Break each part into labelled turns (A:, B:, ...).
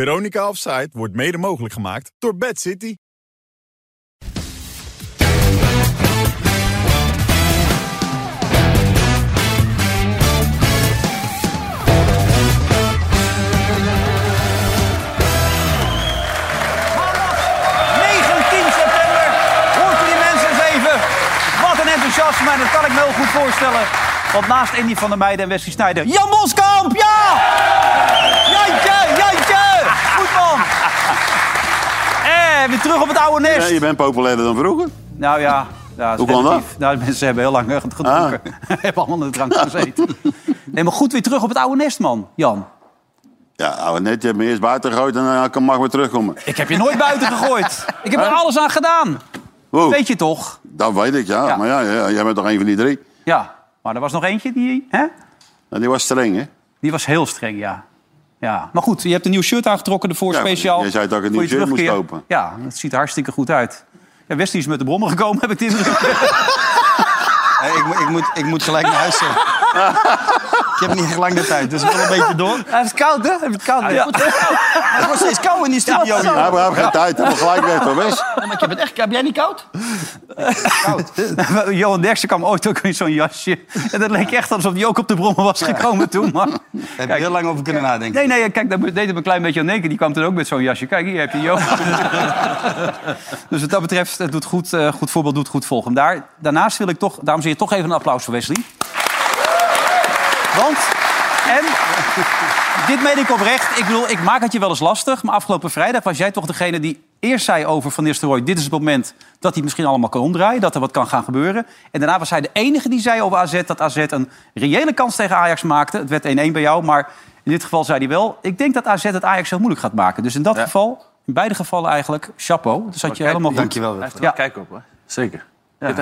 A: Veronica Offside wordt mede mogelijk gemaakt door Bad City.
B: Maandag 19 september. Hoort u die mensen eens even? Wat een enthousiasme, en dat kan ik me heel goed voorstellen. Want naast Indy van der Meijden en Wesley Snijder... Jan Boskamp, ja! Jantje, Jantje! Goed man! Eh, weer terug op het oude
C: Ja,
B: nest.
C: je bent populairder dan vroeger.
B: Nou ja, ja is
C: Hoe kwam dat? Ah.
B: relatief. Nou, mensen hebben heel lang eh, gedronken. hebben allemaal in de drank gezeten. Nee, maar goed weer terug op het oude nest, man, Jan.
C: Ja, ouwe net, je hebt me eerst buiten gegooid en dan kan mag weer terugkomen.
B: Ik heb je nooit buiten gegooid. Ik heb er alles aan gedaan.
C: Wow,
B: Weet je toch?
C: dat weet ik, ja.
B: Ja.
C: Maar ja, ja, jij bent toch een van die drie?
B: Ja, maar er was nog eentje die... Hè?
C: Nou, die was streng, hè?
B: Die was heel streng, ja. ja. Maar goed, je hebt een nieuw shirt aangetrokken ervoor
C: Ja,
B: speciaal.
C: je zei dat ik een
B: voor
C: nieuw
B: je
C: shirt moest
B: terugkeer.
C: kopen.
B: Ja, dat ziet er hartstikke goed uit. Ja, Westie is met de brommen gekomen, heb ik dit indruk.
D: Hey, ik, moet- ik, moet, ik moet gelijk naar huis. hè. ik heb niet echt lang de tijd, dus ik wil een beetje door.
E: Hij heeft het koud, hè? Hij heeft het koud.
B: ja.
D: Het was steeds koud in die studio.
C: Ja,
D: joh.
C: maar we hebben geen tijd. We hebben gelijk weg, toch, Wes?
E: Maar ik heb het echt... Heb jij niet koud?
B: Johan Derksen kwam ooit ook in zo'n jasje. En dat leek echt alsof hij ook op de brommen was gekomen toen. Maar...
D: Daar heb je heel lang over kunnen nadenken.
B: Nee, nee, kijk, daar deed het me een klein beetje aan denken. Die kwam toen ook met zo'n jasje. Kijk, hier heb je Johan. dus wat dat betreft, het doet goed, eh, goed voorbeeld doet goed volgen. Daar, daarnaast wil ik toch, dames en heren, toch even een applaus voor Wesley. Want, en, dit meen ik oprecht. Ik bedoel, ik maak het je wel eens lastig. Maar afgelopen vrijdag was jij toch degene die eerst zei over Van Nistelrooy... dit is het moment dat hij het misschien allemaal kan omdraaien. Dat er wat kan gaan gebeuren. En daarna was hij de enige die zei over AZ... dat AZ een reële kans tegen Ajax maakte. Het werd 1-1 bij jou, maar in dit geval zei hij wel... ik denk dat AZ het Ajax heel moeilijk gaat maken. Dus in dat geval, in beide gevallen eigenlijk, chapeau. Dus had je helemaal goed.
D: Dankjewel. Wilfred.
B: Ja.
E: Kijk op, hè?
F: Zeker.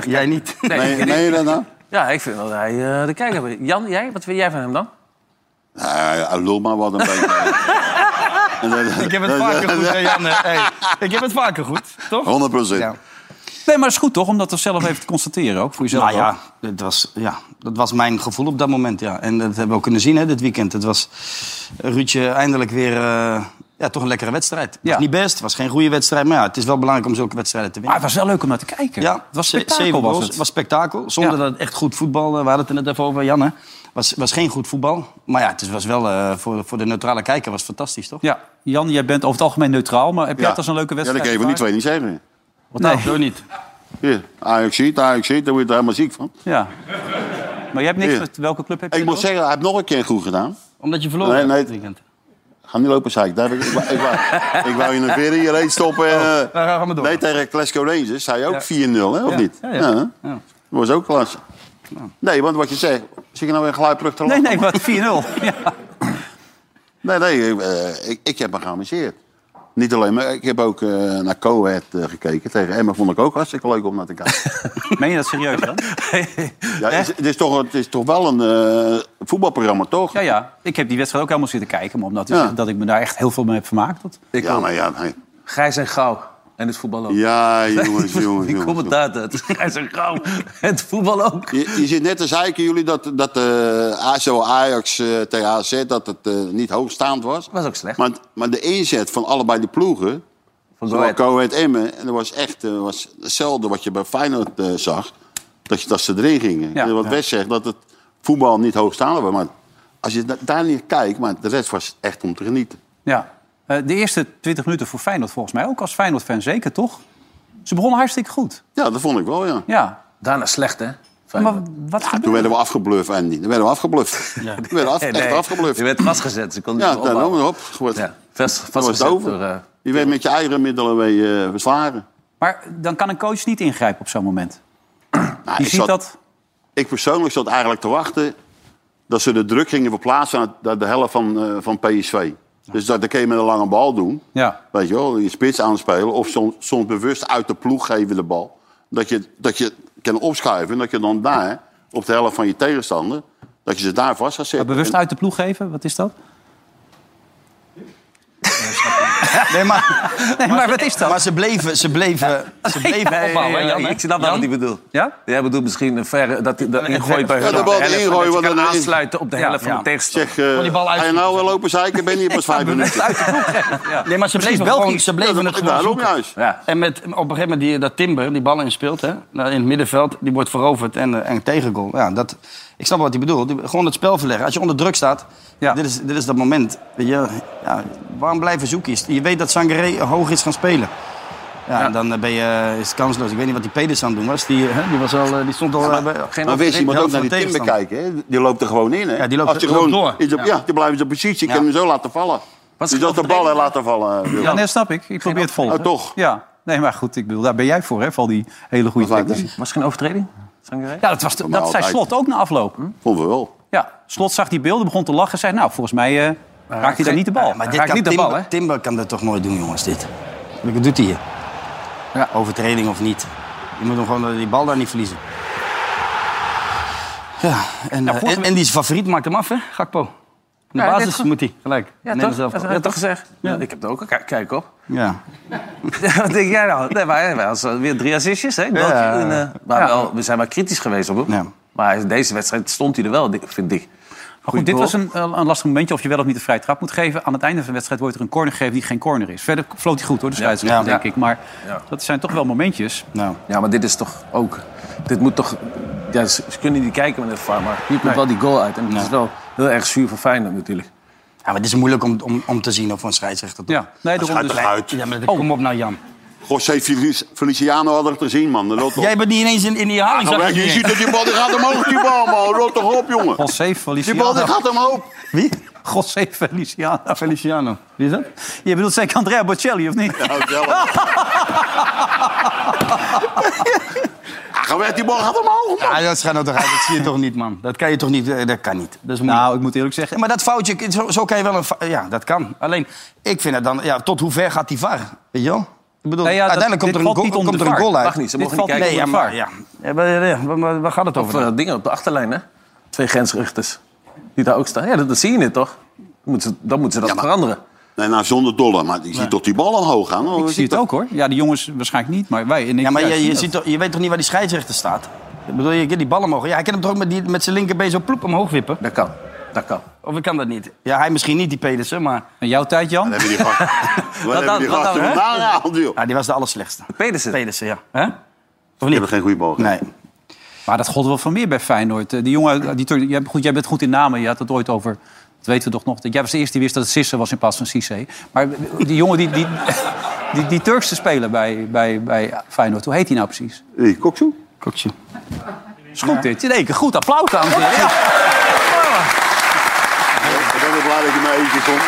D: Jij niet.
C: Nee, nee, dat nou?
F: Ja, ik vind dat hij eh, de kijker heeft. Jan, jij? Wat vind jij van hem dan?
C: Nee, lul maar wat een beetje.
D: Ik heb het vaker goed, hè, Jan. Hey, ik heb het vaker goed, toch?
C: 100 procent.
D: Ja.
B: Nee, maar dat is goed toch? Om dat zelf even te constateren ook, voor jezelf
D: Nou ja
B: ook.
D: dat, was, ja, dat was mijn gevoel op dat moment. Ja. En dat hebben we ook kunnen zien hè, dit weekend. Het was Ruudje eindelijk weer eh, ja, toch een lekkere wedstrijd. Het
B: Ja.
D: was niet best, het was geen goede wedstrijd. Maar ja, het is wel belangrijk om zulke wedstrijden te
B: Maar
D: winnen.
B: het was wel leuk om naar te kijken.
D: ja,
B: Ah, het was
D: ze-
B: spektakel
D: zeven
B: was
D: goals.
B: het.
D: was spektakel. Zonder
B: Ja.
D: dat het echt goed voetbal... eh, We hadden het er net even over, Jan. Hè. Was, was geen goed voetbal. Maar ja, het is- was wel eh, voor, voor de neutrale kijker was het fantastisch, toch?
B: Ja, Jan, jij bent over het algemeen neutraal, maar heb jij het als een leuke
C: Ja, dat
B: wedstrijd?
C: kan je van die twee niet zeggen.
B: Nee.
D: Zo niet.
C: Hier, Ajax ziet, Ajax ziet, daar word je helemaal ziek van.
B: Ja. Maar jij hebt niks
C: Ja.
B: met welke club heb je?
C: Ik moet
B: door?
C: zeggen, hij heeft nog een keer goed gedaan.
D: Omdat je verloren
C: Nee,
D: hebt
C: nee.
D: dit weekend.
C: Ga niet lopen, zei ik. Daar heb ik, ik, wou- ik, wou, ik wou je een veer in je reet stoppen. en, eh,
D: nou, ga maar door.
C: Nee, tegen Glasgow Rangers zei je ook 4-0, hè, of niet?
D: ja,
C: Ja,
D: ja.
C: Dat was ook klasse. Nee, want wat je zegt, zie je nou weer gluiperig te
B: Nee,
C: lachen?
B: nee, wat 4-0. Ja.
C: Nee, nee, ik, eh, ik, ik heb me geamuseerd. Niet alleen, maar ik heb ook eh, naar Coed gekeken tegen Emma. Vond ik ook hartstikke leuk om naar te kijken.
B: Meen je dat serieus dan?
C: ja, het, is, het is toch, het is toch wel een eh, voetbalprogramma, toch?
B: Ja, ja. Ik heb die wedstrijd ook helemaal zitten kijken, maar omdat
C: Ja.
B: dat ik me daar echt heel veel mee heb vermaakt. Dat...
C: ja, maar ja, nee.
F: Grijs en gauw. En het voetbal ook.
C: Ja, jongens, jongens,
F: Die
C: jongens.
F: commentator. Het is grijs en gauw. Het voetbal ook.
C: Je, je zit net te zeiken, jullie, dat, dat eh, ASO Ajax eh, tegen AZ dat het eh, niet hoogstaand was.
F: Was ook slecht.
C: Maar, maar de inzet van allebei de ploegen,
F: Van
C: zowel
F: Goed.
C: Coed Emmen, en dat was echt eh, was hetzelfde wat je bij Feyenoord eh, zag, dat, je, dat ze erin gingen.
B: Ja,
C: En wat
B: ja.
C: West zegt, dat het voetbal niet hoogstaand was. Maar als je da- daar niet kijkt, maar de rest was echt om te genieten.
B: Ja. Eh, de eerste 20 minuten voor Feyenoord volgens mij ook als Feyenoord-fan zeker, toch? Ze begonnen hartstikke goed.
C: Ja, dat vond ik wel, ja.
B: Ja.
F: Daarna slecht, hè?
B: Maar
F: Feyenoord.
B: wat
C: Toen
B: gebeurde
C: werden we afgebluft, Andy. Toen werden we afgebluft. Ja. Toen werden we af,
F: Nee,
C: echt
F: nee.
C: afgebluft.
F: Je werd vastgezet. Ze
C: Ja,
F: kon
C: nou,
F: niet meer
C: daarom,
F: opbouwen.
C: hop, wordt-
F: Ja, vast,
C: dan was
F: vastgezet
C: het over.
F: door... eh,
C: je werd met je eigen middelen weer eh, verslagen.
B: Maar dan kan een coach niet ingrijpen op zo'n moment.
C: Nou,
B: Je
C: ik
B: ziet
C: zat-
B: dat...
C: ik persoonlijk zat eigenlijk te wachten dat ze de druk gingen verplaatsen naar de- de helft van, eh, van PSV. Dus dat, dat kun je met een lange bal doen.
B: Ja.
C: Weet je wel, je spits aanspelen. Of soms, soms bewust uit de ploeg geven de bal. Dat je, dat je kan opschuiven. En dat je dan daar, op de helft van je tegenstander... dat je ze daar vast gaat zetten.
B: Bewust
C: En-
B: uit de ploeg geven, wat is dat?
D: Nee, maar,
B: Nee, maar wat is dat?
D: maar ze bleven, ze bleven, ze bleven
F: Nee,
D: opbouwen, hè, Jan, hè?
F: ik snap wel wat hij bedoelt.
B: Ja?
F: Jij bedoelt misschien een verre, dat, dat ingooien bij hun.
C: Ja, de
F: aan
C: bal
F: helft,
C: ingooien,
F: dat je
C: want
F: kan
C: dan is-
F: aansluiten op de helft van
D: ja.
F: de tegenstander.
C: Zeg, eh
E: die bal uit-
C: ga je nou wel lopen zeiken? Ben je pas vijf minuten?
D: Nee, maar ze bleven,
E: België.
D: gewoon, ze bleven het
C: Ik
D: gewoon
C: daar ook
D: zoeken.
C: juist.
F: Ja.
D: En met, op een gegeven moment die, dat Timber die ballen inspeelt hè, nou, in het middenveld, die wordt veroverd en, eh, en tegengoal. Ja, dat, ik snap wel wat hij bedoelt. Die- Gewoon het spel verleggen. Als je onder druk staat,
B: Ja.
D: dit, is, dit is dat moment. Weet je, ja, waarom blijven zoeken? Je- Je weet dat Sangaré hoog is gaan spelen. Ja, en dan eh, ben je is het kansloos. Ik weet niet wat die Pedersen aan het doen was. Die, hè, die, was al, eh, die stond al... eh, bij-
F: geen
C: Maar
D: de
C: wist je, moet ook
D: helft
C: naar die
D: van de
C: timber
D: tegenstander.
C: kijken. Hè? Die loopt er gewoon in. Hè?
D: Ja, die loopt-
C: Als die
D: loopt
C: gewoon
D: door.
C: is op- ja. die blijven ze op positie. Ik kan hem zo laten vallen.
F: Was
C: dus
F: het
C: dat de bal hè, laten vallen. eh, Wil.
B: Ja, nee, dat snap ik. Ik probeer het vol.
C: Oh, toch?
B: Ja. Nee, maar goed, ik bedoel, daar ben jij voor, hè? Voor al die hele goede
C: Dat lijkt me.
B: technici.
F: Was het geen overtreding? Sangaré?
B: Ja, dat, was de- dat zei
C: altijd.
B: Slot ook na afloop.
C: Vond we wel.
B: Ja, Slot zag die beelden, begon te lachen en zei... nou, volgens mij eh, raakt hij daar niet de bal.
D: Oh, Maar
F: Hij
D: dit
F: raakt
D: kan
F: niet de
D: Timber,
F: bal, hè?
D: Timber kan dat toch nooit doen, jongens, dit. Wat doet hij hier?
F: Ja.
D: Overtreding of niet. Je moet hem gewoon eh, die bal daar niet verliezen. Ja, en, eh,
B: vorige
D: en, en die is favoriet maakt hem af, hè, Gakpo. In de
F: Ja,
D: basis
F: dit is-
D: moet hij, gelijk.
F: Ja,
D: Nederlands
F: toch? Dat
D: elftal.
F: heb ik toch gezegd? Ja, ik heb het ook. al. Kijk, kijk op.
D: Ja.
F: Wat denk jij nou? Nee, maar wij hadden weer drie assistjes, hè? België en, eh, maar wel, we zijn maar kritisch geweest op hem.
D: Ja.
F: Maar deze wedstrijd stond hij er wel, vind ik.
B: Maar goed, dit was een, eh, een lastig momentje of je wel of niet de vrije trap moet geven. Aan het einde van de wedstrijd wordt er een corner gegeven die geen corner is. Verder floot hij goed, hoor, de scheidsrechter,
D: Ja.
B: denk ik. Maar
F: Ja.
B: dat zijn toch wel momentjes.
D: Nou.
F: Ja, maar dit is toch ook... Dit moet toch... Ja, ze, ze kunnen niet kijken met het VAR, maar hier komt wel die goal uit. En dat is wel heel erg zuur voor Feyenoord natuurlijk.
D: ja, maar het is moeilijk om, om, om te zien of een scheidsrechter... toch-
B: Ja, nee, daarom
C: Uit,
B: dus.
C: uit.
D: Ja, maar dat- kom op nou, Jan.
C: José Felici- Feliciano had het gezien, man. Dat loopt op.
D: Jij bent niet ineens in, in die herhaling.
C: Nou,
D: zag ik
C: je
D: niet.
C: ziet dat die bal die gaat omhoog, die bal, man. Rot toch op, jongen.
B: José
C: Die bal die
B: Feliciano.
C: gaat omhoog.
D: Wie?
B: José Feliciano.
D: Feliciano. Wie is dat?
B: Je bedoelt zeker Andrea Bocelli, of niet?
C: Nou, zelf. Ah, gewend, die bal gaat omhoog, man.
D: Ah, dat schijnt nou toch uit. Dat zie je toch niet, man. Dat kan je toch niet... eh, Dat kan niet. Dat is moeilijk.
B: Nou, ik moet eerlijk zeggen,
D: Ja, Maar dat foutje, zo, zo kan je wel een... fa- Ja, dat kan. Alleen, ik vind het dan... Ja, tot hoe ver gaat die VAR? Weet je wel? Ik bedoel,
B: Nee, ja, dat-
D: uiteindelijk
B: dit
D: komt er,
B: valt
D: een goal,
B: niet onder
D: komt er
B: de VAR.
D: een goal uit.
F: Mag niet, ze mogen niet
B: valt
F: kijken.
D: Nee, ja,
B: onder de
D: maar,
B: VAR.
D: ja. Ja, maar, ja, maar, maar waar gaat het
F: Of
D: over? dan?
F: eh, dingen op de achterlijn, hè? Twee grensrichters die daar ook staan. Ja, dat, dat zie je net, toch? Moeten ze- dan moeten ze dat
C: Ja, maar-
F: veranderen.
C: Nee, nou, zonder dollar. Maar je ziet toch die bal omhoog gaan? hoor.
B: ik zie het ook, hoor. Ja, de jongens waarschijnlijk niet, maar wij. En ik
D: Ja, maar
B: juist
D: je,
B: zien
D: je,
B: dat.
D: ziet toch, je weet toch niet waar die scheidsrechter staat? Ik bedoel, je kan die ballen mogen... Ja, hij kan hem toch ook met, die, met zijn linkerbeen zo ploep omhoog wippen?
F: Dat kan. Dat kan.
D: Of ik kan dat niet? Ja, hij misschien niet, die Pedersen, maar...
B: En jouw tijd, Jan?
C: Wat hebben die gast- Wat hebben
F: dan-
C: die
F: wat
C: gasten
F: dan, hè?
C: vandaan gehaald, joh?
D: Ja, Ah, die was de allerslechtste.
F: Pedersen.
D: Pedersen, ja. Hè?
C: Die hebben geen goede bal.
D: Nee.
B: Maar dat gold wel van meer bij Feyenoord. Eh, Die jongen, die, Turk- jij, goed, jij bent goed in namen. Je had het ooit over. Dat weten we toch nog. dat Jij was de eerste die wist dat het Sisse was in plaats van Cisse. Maar die jongen, die, die, die, die Turkse speler bij, bij, bij Feyenoord. Hoe heet hij nou precies?
C: Hey, Koksu?
D: Kokje.
B: Is goed dit. In één keer goed. Applaus, dames en heren. Ja.
C: Ik ben weer blij dat je mij eentje komt.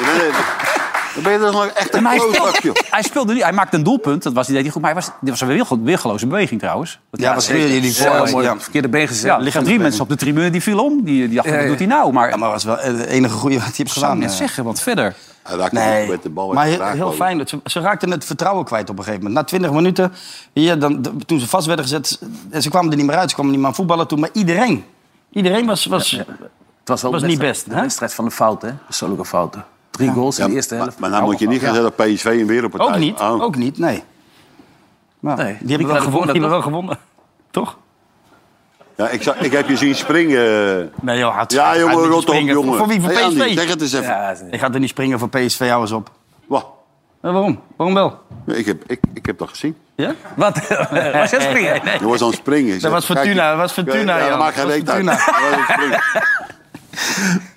C: Ik ben even... Dan ben je toch nog echt een
B: Maar hij,
C: klootzak, Oh, joh.
B: speelde, hij speelde niet. Hij maakte een doelpunt. Dat was, die deed hij goed. Maar hij was, dit was een weergel- weergeloze beweging trouwens. Dat
D: Ja, was weer jullie
F: Heel
D: voor.
F: mooi.
D: Ja.
F: Verkeerde been gezet.
B: ja, er liggen drie mensen op de tribune die viel om. Die, die dachten,
F: Ja,
B: wat
F: ja.
B: doet hij nou? Maar
D: Ja, maar was wel eh, het enige goede wat hij heeft
B: ik zou
D: gedaan.
B: net
D: eh.
B: zeggen, want verder.
C: Hij raakt
D: Nee,
C: ook met de bal. uit
D: maar
C: de
D: heel,
C: raak,
D: heel
C: geloof ik.
D: fijn. dat Ze, ze raakten het vertrouwen kwijt op een gegeven moment. Na 20 minuten, hier, dan, d- toen ze vast werden gezet... en ze kwamen er niet meer uit, ze kwamen niet meer aan voetballen toe. Maar iedereen, iedereen was... was
F: Het was, wel
D: Was
F: de
D: niet
F: wedstrijd-
D: best,
F: De
D: hè?
F: wedstrijd van de fouten, hè? Persoonlijke fouten. Drie goals in de eerste
C: maar,
F: helft.
C: maar nou moet je niet gaan zeggen dat PSV hem weer op het
D: Oh, Ook
C: eind-
D: niet,
C: Oh.
D: ook niet, nee. Nou,
F: Nee,
D: die hebben
F: ik
D: wel
F: had
D: gewonnen,
F: het
D: die hebben wel gewonnen. Toch?
C: Ja, ik, zag- ik heb je zien springen.
D: Nee, joh, had,
C: Ja, jongen,
D: had niet
C: rot op,
D: springen.
C: jongen.
D: Voor wie? Voor
C: Hey, Andy,
D: PSV?
C: zeg het eens even.
F: Ja, dat is niet-
D: Ik ga er niet springen voor PSV, hou eens op.
C: Wauw.
D: Maar waarom? Waarom wel?
C: Ik heb, ik, ik heb dat gezien.
D: Ja?
F: Wat? Was jij springen?
C: Je was aan het springen. Ik zeg,
D: was Fortuna,
C: kijk,
D: dat was Fortuna,
C: Ja, dat
D: Jan.
C: maakt geen
D: Dat was
C: reet uit. Dat was een springen.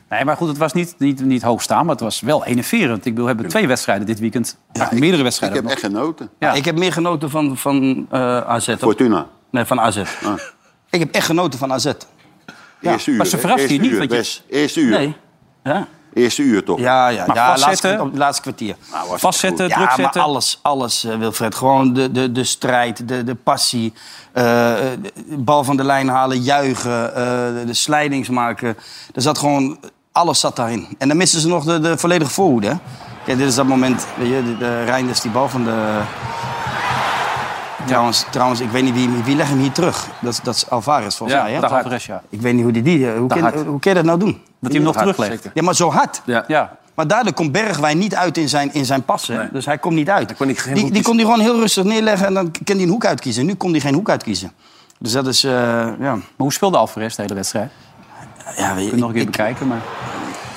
B: Nee, maar goed, het was niet, niet, niet hoogstaan, maar het was wel enerverend. Ik bedoel, we hebben twee wedstrijden dit weekend. Eigenlijk meerdere
C: Ik
B: wedstrijden.
C: heb echt genoten.
B: Ja.
D: Ik heb meer genoten van, van eh, AZ. hoor.
C: Fortuna.
D: Nee, van AZ.
C: Ah.
D: Ik heb echt genoten van AZ.
C: Eerste uur.
B: maar ze
C: hè?
B: verrast
C: Eerste
B: je niet,
C: uur,
B: want je-
C: Wes. Eerste uur.
D: Nee. Ja,
C: Eerste uur toch?
D: ja, ja.
B: Maar
D: ja laatste,
B: vastzetten?
D: kwartier- laatste kwartier.
C: Nou, was
B: Vastzetten,
D: Ja,
B: druk
D: maar
B: zetten.
D: alles, alles eh, Wilfred. Gewoon de, de, de strijd, de, de passie. eh, eh, bal van de lijn halen, juichen, eh, de, de slijdings maken. Er zat gewoon... Alles zat daarin. En dan misten ze nog de, de volledige voorhoede. hè. Kijk, dit is dat moment... Weet je, de, de Reinders die bal van de... Trouwens, trouwens, ik weet niet wie, wie legt hem hier terug. Dat, is- dat is Alvarez volgens
B: Ja,
D: mij. Hè?
B: dat is Alvarez, ja.
D: Ik weet niet hoe die, die hoe, kan,
F: hard.
D: hoe kan je dat nou doen?
B: Dat hij hem nog
F: Hard,
B: teruglegt.
F: zeker.
D: Ja, maar zo hard.
B: Ja.
D: Maar daardoor komt Bergwijn niet uit in zijn, in zijn passen.
F: Nee.
D: Dus hij komt niet uit.
F: Hij kon niet- geen
D: die,
F: hoek
D: die
F: kiezen.
D: kon hij gewoon heel rustig neerleggen en dan kan hij een hoek uitkiezen. Nu kon hij geen hoek uitkiezen. Dus dat is, eh, ja...
B: hoe speelde Alvarez de hele wedstrijd? Kun
D: ja weet,
B: je nog een keer
D: ik-
B: bekijken. Maar...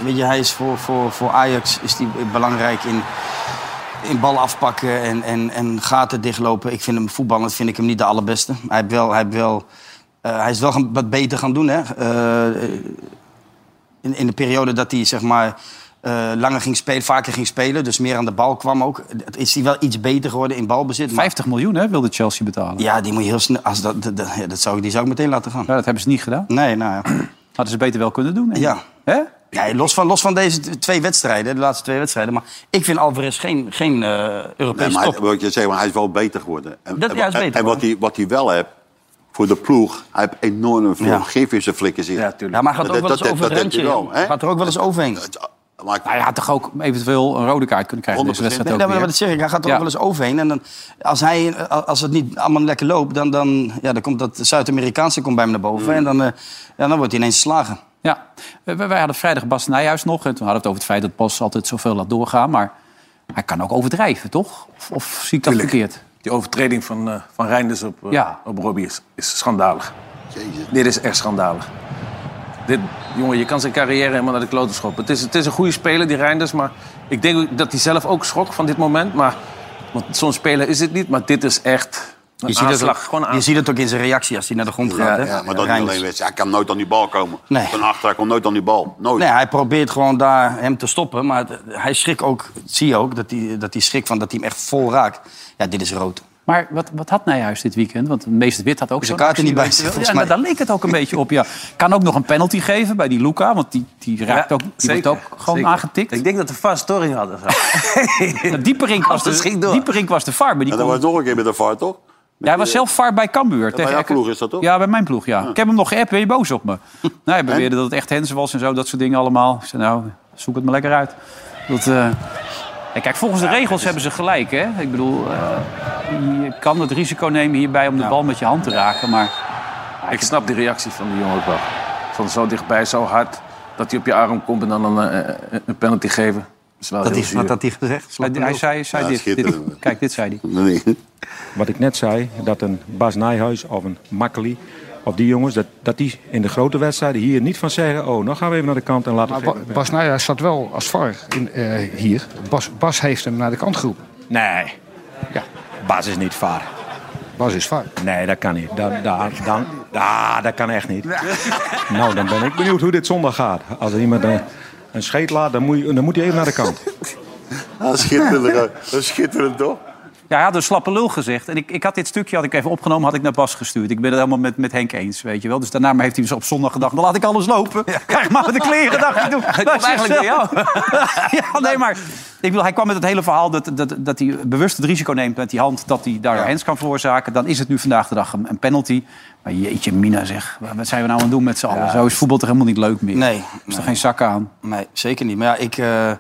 D: Weet je, hij is voor, voor, voor Ajax is die belangrijk in, in bal afpakken en, en, en gaten dichtlopen. Ik vind hem voetballend vind ik hem niet de allerbeste. Hij, heeft wel, hij, heeft wel, eh, hij is wel gaan- wat beter gaan doen. Hè? Eh, in, in de periode dat hij zeg maar, eh, langer ging spelen, vaker ging spelen, dus meer aan de bal kwam ook, is hij wel iets beter geworden in balbezit. Maar,
B: 50 miljoen hè, wilde Chelsea betalen.
D: ja, die moet je heel snel. Als dat, dat, dat- ja, dat zou, ik- die zou ik meteen laten gaan.
B: Nou, dat hebben ze niet gedaan.
D: Nee, nou ja.
B: Hadden ze beter wel kunnen doen. denk ik.
D: Ja.
B: Hè?
D: Ja, los, van, los van deze t- twee wedstrijden, de laatste twee wedstrijden. Maar ik vind Alvarez geen, geen eh,
C: Nee,
D: Europese
C: maar, hij-
D: top.
C: wat je zegt, maar hij is wel beter geworden. En,
D: Dat- ja, hij is
C: en-
D: beter
C: en wat hij, wat hij wel heeft voor de ploeg, hij heeft enorm veel
D: Ja.
C: gif in zijn flikkers hier.
F: Ja, tuurlijk.
D: Ja, maar hij gaat ook
C: Dat-
D: wel eens
C: dat-
D: over het
C: dat heb je
D: randje.
C: wel, hè?
D: Gaat er ook wel eens overheen.
C: Het- maar ik-
D: Nou
B: Hij Nou, had toch ook eventueel een rode kaart kunnen krijgen in deze
C: 100%.
B: wedstrijd
D: Nee,
B: ook
D: nee, maar
B: weer.
D: dat zeg ik. Hij gaat er
B: Ja.
D: ook wel eens overheen. En dan, als, hij, eh, als het niet allemaal lekker loopt, dan, dan, ja, dan komt dat Zuid-Amerikaanse komt bij hem naar boven.
C: Mm.
D: En dan, eh, ja, dan wordt hij ineens geslagen.
B: Ja, Eh, wij wij hadden vrijdag Bas Nijhuis nog. En toen hadden we het over het feit dat Bas altijd zoveel laat doorgaan. Maar hij kan ook overdrijven, toch? Of, of zie ik dat verkeerd?
F: Die overtreding van, eh van Reinders op, eh,
B: Ja.
F: op Robbie is, is schandalig.
C: Jezus.
F: Dit is echt schandalig. Dit, jongen, je kan zijn carrière helemaal naar de kloten schoppen. Het is, het is een goede speler, die Reinders. Maar ik denk ook dat hij zelf ook schrok van dit moment. Maar, want zo'n speler is het niet. Maar dit is echt een
D: ziet, het
F: aanslag.
D: ook,
F: Gewoon een
D: je
F: aanslag.
D: ziet het ook in zijn reactie als hij naar de grond gaat. hè?
C: Ja, maar dat niet
D: Reinders.
C: alleen wedstrijd. Hij kan nooit aan die bal komen.
D: Nee.
C: Van achter, hij komt nooit aan die bal. Nooit.
D: Nee, hij probeert gewoon daar hem te stoppen. Maar het- hij schrikt ook, zie je ook, dat hij, dat hij schrikt van dat hij hem echt vol raakt. Ja, dit is rood.
B: Maar wat, wat had Nijhuis dit weekend? Want meester Wit had ook
D: Zijn
B: zo'n
D: kaart
B: actie,
D: er niet bij
B: weet je wel. Ja,
D: zitten, volgens
B: maar daar leek het ook een beetje op, ja. Kan ook nog een penalty geven bij die Luca. Want die, die, raakt
F: Ja,
B: ook, die wordt
F: zeker,
B: ook gewoon
F: zeker.
B: aangetikt.
F: Ik denk dat we vast story hadden.
B: Nou, Dieperink was,
F: Alles
B: de,
F: ging door.
B: Dieperink was de VAR. Maar die
C: En dat
B: kon-
C: was nog een keer met de VAR, toch?
B: Ja, hij was zelf VAR bij Cambuur. tegen
C: Eh, jouw
B: Ekken.
C: ploeg is dat toch? Ah.
B: Ja, bij mijn ploeg, ja. Ik heb hem nog geappt. Ben je boos op me? nou, hij beweerde dat het echt Hensen was en zo. Dat soort dingen allemaal. Ik zei, nou, zoek het maar lekker uit. Dat, eh, ja, kijk, volgens de regels hebben ze gelijk, hè. Ik bedoel, eh, je kan het risico nemen hierbij om de bal met je hand te raken. Maar
F: Ik snap die reactie van die jongen ook wel. Van zo dichtbij, zo hard. Dat hij op je arm komt en dan een, eh, een penalty geven. Dat is wel
D: Dat
F: heel
D: is,
F: zuur.
D: wat had hij gezegd?
B: hij, hij zei, zei
C: Ja,
B: dit, dit.
C: schitterend.
B: Kijk, dit zei hij.
C: Nee.
G: wat ik net zei, dat een Bas Nijhuis of een Makkeli... of die jongens, dat, dat die in de grote wedstrijden hier niet van zeggen... oh, nou gaan we even naar de kant en laten
H: Maar
G: we...
H: Ba- Bas Nijhuis zat wel als VAR in, eh, hier. Bas, Bas heeft hem naar de kant geroepen.
G: Nee,
H: Ja,
G: Bas is niet vaar.
H: Bas is VAR.
G: Nee, dat kan niet. Dat, daar, dan, daar, dat kan echt niet. Nou, dan ben ik benieuwd hoe dit zondag gaat. Als er iemand een, een scheet laat, dan moet, je- dan moet hij even naar de kant.
C: Dat is schitterend. Dat is schitterend, toch?
B: Ja, hij had een slappe lul gezegd. En ik, ik had dit stukje had ik even opgenomen, had ik naar Bas gestuurd. Ik ben het helemaal met, met Henk eens, weet je wel. Dus daarna heeft hij dus op zondag gedacht, dan laat ik alles lopen. Krijg maar de kleren, dacht ik. Doe. Dat
F: eigenlijk door jou.
B: ja, nee, maar ik bedoel, hij kwam met het hele verhaal dat, dat, dat hij bewust het risico neemt met die hand... dat hij daar hands kan veroorzaken. Dan is het nu vandaag de dag een, een penalty. Maar jeetje, Mina zeg, wat zijn we nou aan het doen met z'n allen? Zo is voetbal toch helemaal niet leuk meer?
D: Nee,
B: Is er
D: nee.
B: geen zak aan?
D: Nee, zeker niet. Maar ja, ik, eh,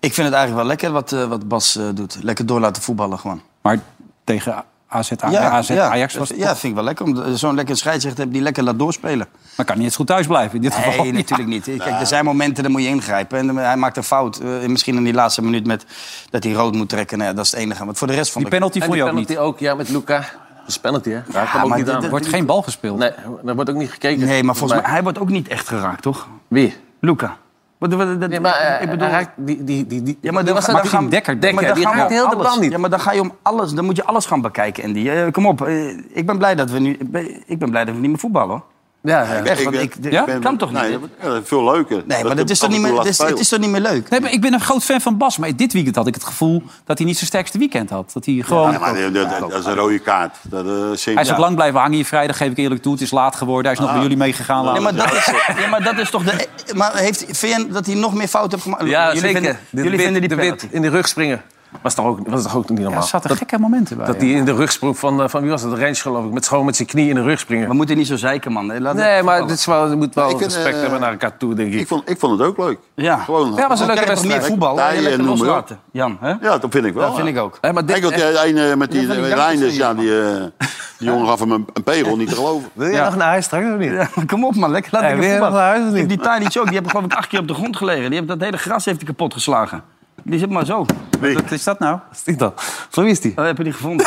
D: ik vind het eigenlijk wel lekker wat, eh, wat Bas eh, doet. Lekker door laten voetballen gewoon.
B: Maar tegen AZ, AZ Ajax was het
D: Ja, vind ik wel lekker. Om zo'n lekker scheidsrechter te hebben die lekker laat doorspelen.
B: Maar kan niet eens goed thuis blijven in dit geval.
D: Nee, natuurlijk niet. Kijk, er zijn momenten, daar moet je ingrijpen. En eh, hij maakt een fout. eh, misschien in die laatste minuut met dat hij rood moet trekken. Nou, ja, dat is het enige. Want voor de rest van
B: Die penalty
F: En
B: vond je
F: die
B: ook niet.
F: penalty ook, ja, met Luca. Dat is penalty, hè? Ja, kan ook
D: maar
F: niet
D: dit-
F: aan.
D: dit-
B: Er wordt geen bal gespeeld.
F: Nee, er wordt ook niet gekeken.
D: Nee, maar volgens mij, hij wordt ook niet echt geraakt, toch?
F: Wie?
D: Luca. Wat, wat, dat-
F: Nee, maar eh,
D: ik bedoel...
F: hij raakt die, die, die, die...
D: Ja, maar
F: die
D: dan,
F: was
D: maar
F: dat
B: Maxime
D: dan gaan-
B: Dekker,
D: maar
F: Dekker,
D: dan
F: die
D: gaan we
F: raakt heel de
D: alles-
F: bal niet.
D: Ja, maar dan ga je om alles, dan moet je alles gaan bekijken, Andy. Eh, kom op, eh, ik ben blij dat we nu, ik ben- ik ben blij dat we niet meer voetballen. hoor.
F: Ja, ja.
D: Echt, want
C: ben-
D: ik,
C: ik
D: dat
C: ben-
D: kan toch niet?
C: Nee,
D: Nee,
C: dat- ja, dat is veel leuker.
D: maar
C: je
D: dat is toch
C: af
D: niet
C: en
D: meer,
C: toe
D: dat
C: laat
D: is, het is
C: spelen.
D: toch niet meer leuk?
B: Nee, maar ik ben een groot fan van Bas. Maar dit weekend had ik het gevoel dat hij niet zijn sterkste weekend had. Dat hij gewoon...
C: Ja, maar dat- dat, dat is een rode kaart. Dat, eh,
B: hij is
C: Sint-
B: ook lang blijven hangen hier vrijdag, geef ik eerlijk toe. Het is laat geworden. Hij is nog bij jullie meegegaan.
D: Ja,
B: later.
D: maar dat is, ja, maar dat is toch de... Maar heeft VN dat hij nog meer fouten heeft gemaakt?
F: Ja,
D: jullie
F: zeker.
D: Vinden,
F: de
D: jullie
F: wit,
D: vinden die
F: de
D: penalty.
F: wit in de rug springen. Was toch ook, was toch ook niet
B: Ja, er
F: normaal?
B: zaten gekke momenten bij.
F: dat
B: ja.
F: hij in de rug sprong van, eh, van wie was dat? Rens geloof ik. Met schoon met zijn knie in de rug springen.
D: We moeten niet zo zeiken, man. Laat
F: Nee, maar dit is wel, je moet wel
C: Ik vind,
F: respect
C: eh,
F: hebben naar elkaar toe, denk ik.
C: Ik vond, ik vond het ook leuk.
D: Ja.
C: Gewoon,
F: Ja, was een
D: Dan
F: leuke
D: krijg je toch
F: wedstrijd.
D: meer voetbal.
C: Partijen
D: hè? Lekker
C: noemen we
D: loslaten. Jan, hè?
C: ja, dat vind ik wel.
D: Dat vind ik ook.
F: Hé, maar dit,
C: Kijk, want die
F: echt-
C: ene met die
D: Ja, van die
C: Reinders, ja,
D: jankers
C: die... eh, Die jongen gaf hem een, een pegel, niet te geloven.
I: Wil je
B: Ja.
I: nog naar huis straks of niet?
D: Ja, maar Kom op man, lekker laat
I: Hey,
D: ik
I: wil je
D: hem
I: nog naar huis of
D: voetballen.
I: niet?
D: Die Tadic ook, die heb geloof ik acht keer op de grond gelegen. Die heeft, dat hele gras heeft hij kapot geslagen. Die zit maar zo.
B: Wat is dat nou?
I: Is die dan? Zo is die.
D: Dat heb je die gevonden.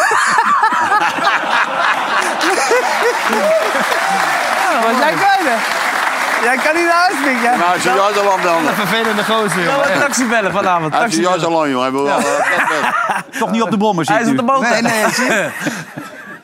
I: Maar jij kan hè? Jij kan niet naar huis, Mick. Jij
C: Nou, hij is juist al lang dan.
E: Vervelende
F: Oh,
E: gozer,
I: kan
E: joh.
I: wel een taxi bellen vanavond.
C: Hij is
I: Taxi
C: juist
I: bellen.
C: al lang, jongen. Hij wil wel, eh, dat weg.
B: Toch niet op de bommen
I: Hij
B: zit
I: is op de
B: nu.
I: boot.
D: Nee, nee, zie je?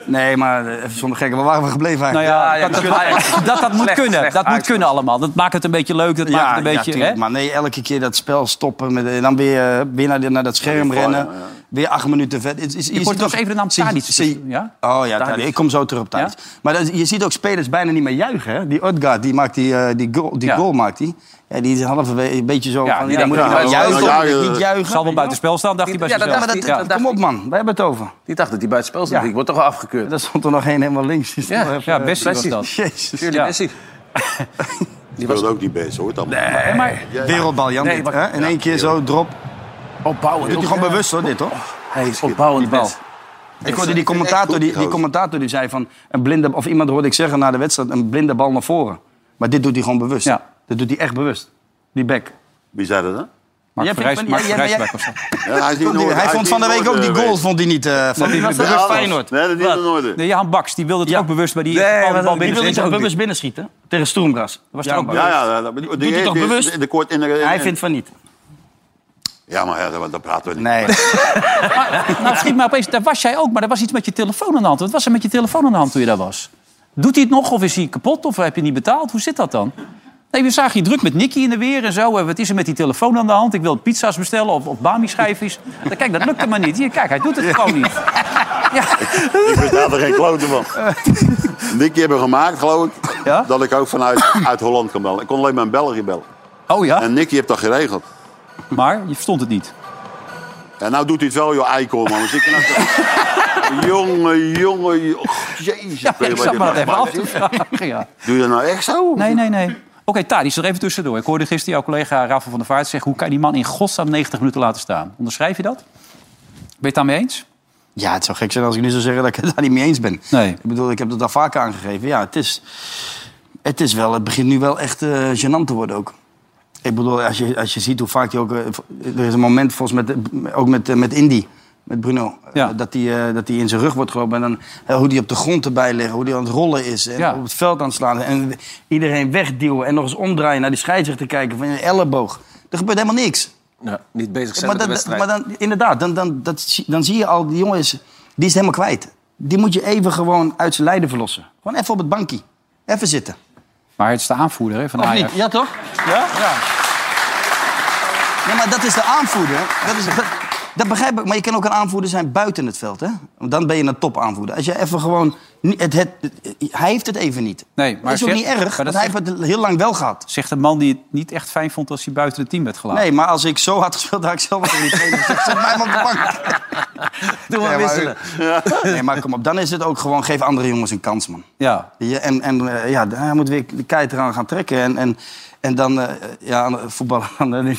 D: Nee, maar eh, even zonder gekken. Waar waren we gebleven
B: Nou
D: eigenlijk?
B: ja,
I: Ja, ja,
B: dat,
I: misschien
B: dat-
I: Ajax.
B: dat, dat moet
I: Slecht,
B: kunnen.
I: slecht
B: dat moet
I: Ajax.
B: kunnen allemaal. Dat maakt het een beetje leuk. Dat maakt het een beetje...
D: tuurlijk.
B: hè?
D: Maar nee, elke keer dat spel stoppen. Met, eh, dan weer, eh, weer naar, die- naar dat scherm
C: die
D: rennen.
C: vallen, ja.
D: Weer acht minuten vet. Het is- je
B: Ik hoor
D: ziet
B: toch
D: ook-
B: even de naam
D: zie-
B: Tadic.
D: zie-
B: Ja?
D: Oh ja, Tadic. ik kom zo terug op tijd.
B: Ja?
D: Maar dat- je ziet ook spelers bijna niet meer juichen. Hè? Die Utgaard, die, maakt die, eh, die, goal, die
B: Ja.
D: goal maakt die. Ja, die is halverwege een beetje zo
B: Ja,
D: van...
B: die
D: Ja,
B: denkt,
D: moet ik
C: ja,
D: nou
C: ja,
D: juichen
C: ja,
D: of moet ik
C: ja,
D: niet
C: ja.
D: juichen?
B: Zal wel buitenspel staan, dacht hij bij
F: Ja, dat-
B: zichzelf.
F: dat- dat-
B: Ja.
F: dat-
D: Kom op man, we hebben het over.
F: Die dacht dat hij buitenspel stond. Ik word toch wel afgekeurd.
D: Er stond er nog één helemaal links. Die stond
F: Ja,
D: nog even-
B: Ja, Bessie was
F: Bessie.
B: dat.
D: Jezus.
F: Jullie
B: Ja.
F: Messi.
C: Die was ook niet best, hoor. Dat nee.
D: Wereldbal, Jan.
F: Nee,
D: dit,
F: maar-
D: hè? In één keer zo, drop.
F: Opbouwend.
D: Doet hij gewoon bewust hoor, dit hoor.
F: Hij is opbouwend bal.
D: Ik hoorde die commentator, die, die commentator die zei van... Een blinde, of iemand hoorde ik zeggen na de wedstrijd... een blinde bal naar voren. Maar dit doet hij gewoon bewust.
B: Ja.
D: Dit dodoet hij echt bewust. Die back.
C: Wie zei dat dan?
B: Mark
D: Jij
B: Verrijs-
D: vindt-
B: Mark
D: jij- jij-
B: Verrijswijk of zo.
C: Ja, hij, is niet in orde.
D: hij
C: is
D: vond
C: niet
D: van de
C: in
D: week
C: orde
D: ook die goal
C: geweest.
D: vond hij niet... eh van die
C: Ja,
D: bewust
C: alles.
D: Feyenoord.
C: Nee, dat is niet in orde.
B: Nee, Jan Baks, die wilde het ook bewust bij die
I: Nee,
B: bal-
I: maar
B: bal
I: dat-
D: Die
B: binnen.
D: wil hij
B: zit
D: toch
B: ook
D: bewust
B: niet.
D: binnenschieten? Tegen Stoemgras.
B: Was er ook
D: maar-
C: Ja, ja, dat doet
D: hij toch bewust?
C: De kort in de,
D: Hij vindt van niet.
C: Ja, maar ja, daar, daar praten we niet.
D: Nee.
B: Nou, schiet mij opeens, daar was jij ook, maar er was iets met je telefoon aan de hand. Wat was er met je telefoon aan de hand toen je daar was? Doet hij het nog of is hij kapot of heb je niet betaald? Hoe zit dat dan? Nee, we zagen je druk met Nicky in de weer en zo. En Wat is er met die telefoon aan de hand? Ik wil pizza's bestellen of, of Bami-schijfjes. Dan- Kijk, dat lukte maar niet. Hier, kijk, hij doet het gewoon niet.
C: Ik betaal er geen kloten van. Die keer hebben we gemaakt, geloof ik,
B: Ja?
C: dat ik ook vanuit uit Holland kan bellen. Ik kon alleen maar in België bellen.
B: Oh ja,
C: En Nicky heeft dat geregeld.
B: maar je verstond het niet.
C: En nou doet hij het wel, joh, eikel, man. Dus ik kan ook- jongen, jongen, jongen. Och, jezus.
B: Ja,
C: weet je
B: ik
C: wat
B: zat
C: je
B: maar dat
C: nou
B: even af
C: maakt?
B: te vragen. Ja.
C: Doe je dat nou echt zo?
B: Nee, nee, nee. Oké, Tadis, er even tussendoor. Ik hoorde gisteren jouw collega Rafael van der Vaart zeggen... hoe kan je die man in godsnaam 90 minuten laten staan? Onderschrijf je dat? Ben je het daarmee eens?
D: Ja, het zou gek zijn als ik nu zou zeggen dat ik het daar niet mee eens ben.
B: Nee.
D: Ik bedoel, ik heb dat al vaker aangegeven. Ja, het is, het is wel, het begint nu wel echt eh gênant te worden ook. Ik bedoel, als je, als je ziet hoe vaak je ook... eh, Er is een moment volgens mij met, ook met, eh, met Indy, met Bruno... eh,
B: Ja.
D: dat hij eh, dat hij in zijn rug wordt gelopen. En dan eh, hoe die op de grond erbij ligt, hoe die aan het rollen is. En
B: Ja.
D: op het veld aan het slaan. En iedereen wegduwen en nog eens omdraaien naar die scheidsrechter kijken. Van een elleboog. Er gebeurt helemaal niks.
F: Ja, niet bezig zijn
D: Maar,
F: met de
D: dat,
F: wedstrijd.
D: maar dan, inderdaad, dan, dan, dat, zie- dan zie je al, die jongen is, die is helemaal kwijt. Die moet je even gewoon uit zijn lijden verlossen. Gewoon even op het bankje. Even zitten.
B: Maar het is de aanvoerder hè, van
D: Of
B: Ajax.
D: niet? Ja, toch? Ja, maar dat is de aanvoerder. Dat, is, dat, dat begrijp ik. Maar je kan ook een aanvoerder zijn buiten het veld, hè? Want dan ben je een topaanvoerder. Als je even gewoon... niet- Het, het, het- hij heeft het even niet.
B: Nee, maar
D: dat is ook
B: zeg-
D: niet
B: maar
D: erg,
B: dat
D: want
B: zeg-
D: hij heeft het heel lang wel gehad.
B: Zegt een man die het niet echt fijn vond als hij buiten het team werd gelaten.
D: Nee, maar als ik zo had gespeeld, had ik zelf wel niet trainen. gezegd. Zet mij maar op de bank.
I: Doe maar
D: Ja, maar-
I: wisselen.
D: Nee, maar kom op. Dan is het ook gewoon... Geef andere jongens een kans, man.
B: Ja.
D: Ja, en en eh, ja, hij moet weer de kei eraan gaan trekken. En, en, en dan eh, ja, aan de- voetballen aan de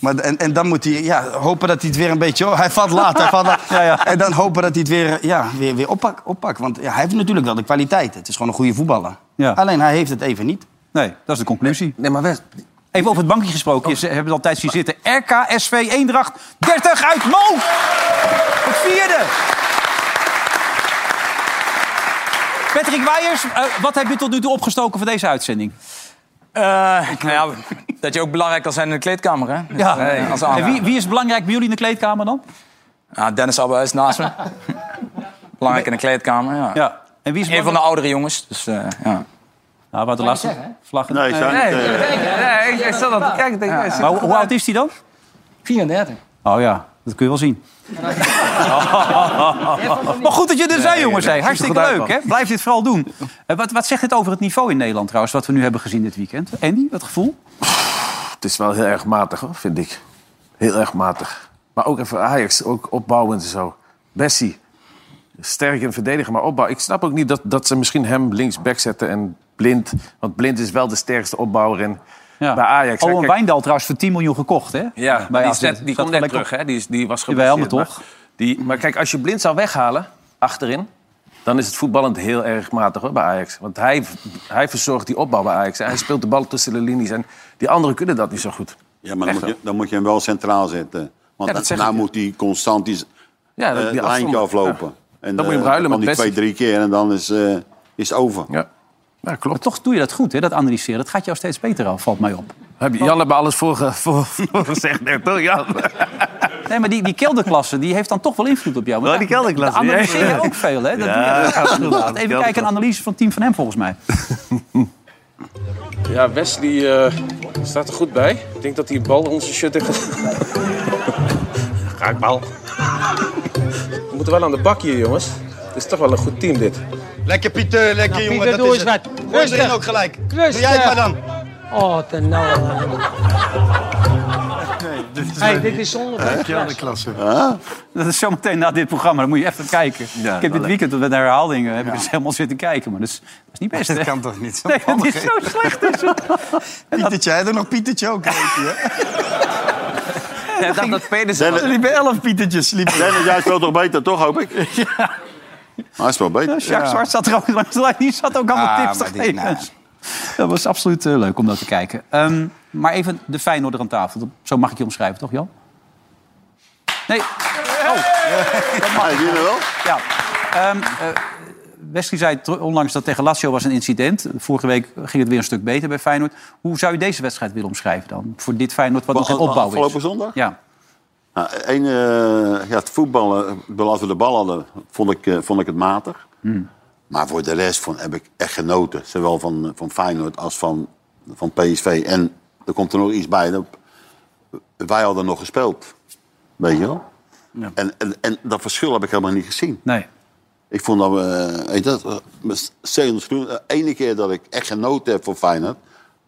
D: maar, en, en dan moet hij ja, hopen dat hij het weer een beetje... Oh, hij valt laat, hij valt laat. En dan hopen dat hij het weer, eh, ja, weer, weer oppakt. oppakt. Want ja, hij heeft natuurlijk wel de kwaliteit. Het is gewoon een goede voetballer.
B: Ja.
D: Alleen hij heeft het even niet.
B: Nee, dat is de conclusie.
F: Nee, maar West,
B: Even over het bankje gesproken. Ze hebben het altijd zien zitten. RKSV Eendracht 30 uit Mo. Het vierde. Patrick Weijers, eh, wat heb je tot nu toe opgestoken voor deze uitzending?
I: Eh, nou ja, dat je ook belangrijk kan zijn in de kleedkamer, hè? Eh, als
B: en
I: aanhanger.
B: wie, wie is belangrijk bij jullie in de kleedkamer dan?
I: Ja, Dennis Abbe is naast me. belangrijk in de kleedkamer, ja.
B: Ja. En wie is
I: Een van de oudere jongens, dus eh, ja.
B: Nou, we hadden laatst een vlag.
C: Nee, zijn
B: Maar
C: niet, eh,
I: Nee, ik, zat al te kijken.
B: hoe, hoe oud is die dan?
I: 34.
B: Oh ja, dat kun je wel zien. maar goed dat je er zijn, jongens. hè. Hartstikke
I: goed uit,
B: leuk, hè? Blijf dit vooral doen. Eh, wat, wat zegt dit over het niveau in Nederland, trouwens, wat we nu hebben gezien dit weekend? Andy, wat gevoel?
F: het is wel heel erg matig, hoor, vind ik. Heel erg matig. Maar ook even Ajax, ook opbouwend en zo. Bessie, sterk in verdedigen, maar opbouw. Ik snap ook niet dat, dat ze misschien hem linksback zetten en Blind. Want Blind is wel de sterkste opbouwer in,
B: Ja.
F: bij Ajax. hè.
B: Owen
F: Kijk,
B: Wijndal trouwens voor 10 miljoen gekocht, hè?
I: Ja,
B: Bij
I: die,
B: AZ.
I: zet, die
B: Zat
I: komt net
B: gelijk op.
I: terug, hè? Die, is- die was
B: Jawel,
I: geblesseerd.
B: maar toch?
I: Maar, die, maar kijk, als je blind zou weghalen, achterin...
F: dan is het voetballend heel erg matig hoor, bij Ajax. Want hij, hij verzorgt die opbouw bij Ajax. En hij speelt de bal tussen de linies. En die anderen kunnen dat niet zo goed.
C: Ja, maar dan
F: Echt
C: moet, je, dan moet je hem wel centraal zetten. Want
F: Ja,
C: dan
F: dat zeg
C: nou
F: ik.
C: moet hij constant die,
F: Ja,
C: eh,
F: dat- die
C: lijntje
F: afstand-
C: aflopen. En,
F: Dan moet je hem
C: eh,
F: ruilen
C: dan
F: met
C: die twee,
F: Bessie.
C: drie keer en dan is, eh, is het over.
F: Ja. Ja, klopt.
B: Maar toch doe je dat goed, hè? dat Oh. analyseren. Dat gaat jou steeds beter af, valt mij op.
F: Heb je, Jan heeft me alles voor, ge- voor, voor gezegd, net, toch Jan?
B: Nee, maar die, die kelderklasse die heeft dan toch wel invloed op jou. Want
J: Oh, die
B: daar-
J: kelderklasse,
B: Daar
J: ja.
B: analyseer je ook veel, hè? Dat
J: Ja,
B: doe je-
J: dat gaat goed aan,
B: Even kijken,
J: kelderklasse.
B: een analyse van het team van hem volgens mij.
F: Ja, Wesley eh, staat er goed bij. Ik denk dat die bal onze shut heeft. Raakbal. We moeten wel aan de bak hier, jongens. Het is toch wel een goed team, dit.
K: Lekker Pieter, lekker jongen.
L: Nou, Pieter,
K: dat
L: doe
K: is
L: eens
K: het.
L: wat.
K: Gooi hem erin
L: Rustig.
K: ook gelijk.
L: Rustig.
K: Doe jij het maar dan.
L: Oh, ten nou. Hey, dit is zonder
B: klasse. Dat is zometeen na dit programma, dan moet je even kijken. ik heb dit weekend met de herhalingen heb ik dus helemaal zitten kijken. Maar dat is, dat is niet best.
D: Dat
B: hè?
D: kan toch niet zo?
B: Nee, dat is zo slecht. Dus.
D: Pietertje, hij doet nog Pietertje ook.
F: Hij dacht dat Pedersen
C: was.
D: Er liepen elf Pietertjes. liepen.
C: Dennis, jij speelt toch beter, toch hoop ik? Ja. Hij speelt beter.
B: Jacques Zwart zat er ook langs de lijn. Die zat ook allemaal
D: Ah,
B: tips
D: maar
B: te
D: die-
B: geven.
D: nou.
B: Dat was absoluut eh, leuk om dat te kijken. Ehm, maar even de Feyenoorder aan tafel. Zo mag ik je omschrijven, toch Jan? Nee. Oh.
C: Hij is hier wel.
B: Ja. Ehm, eh, Wesley zei tro- onlangs dat tegen Lazio was een incident. Vorige week ging het weer een stuk beter bij Feyenoord. Hoe zou je deze wedstrijd willen omschrijven dan? Voor dit Feyenoord wat nog in
C: Van- van
B: opbouw
C: Afgelopen
B: is.
C: zondag?
B: Ja.
C: Nou, één, eh, ja, het voetballen, ik bedoel, als we de bal hadden, vond ik, eh, vond ik het matig. Maar voor de rest van, heb ik echt genoten. Zowel van, eh, van Feyenoord als van, van PSV. En er komt er nog iets bij. dat- Wij hadden nog gespeeld. Weet je wel? En, en, en dat verschil heb ik helemaal niet gezien.
B: Nee.
C: Ik vond dat we... eh, weet je dat, eh, met Steven Groen, de ene keer dat ik echt genoten heb voor Feyenoord...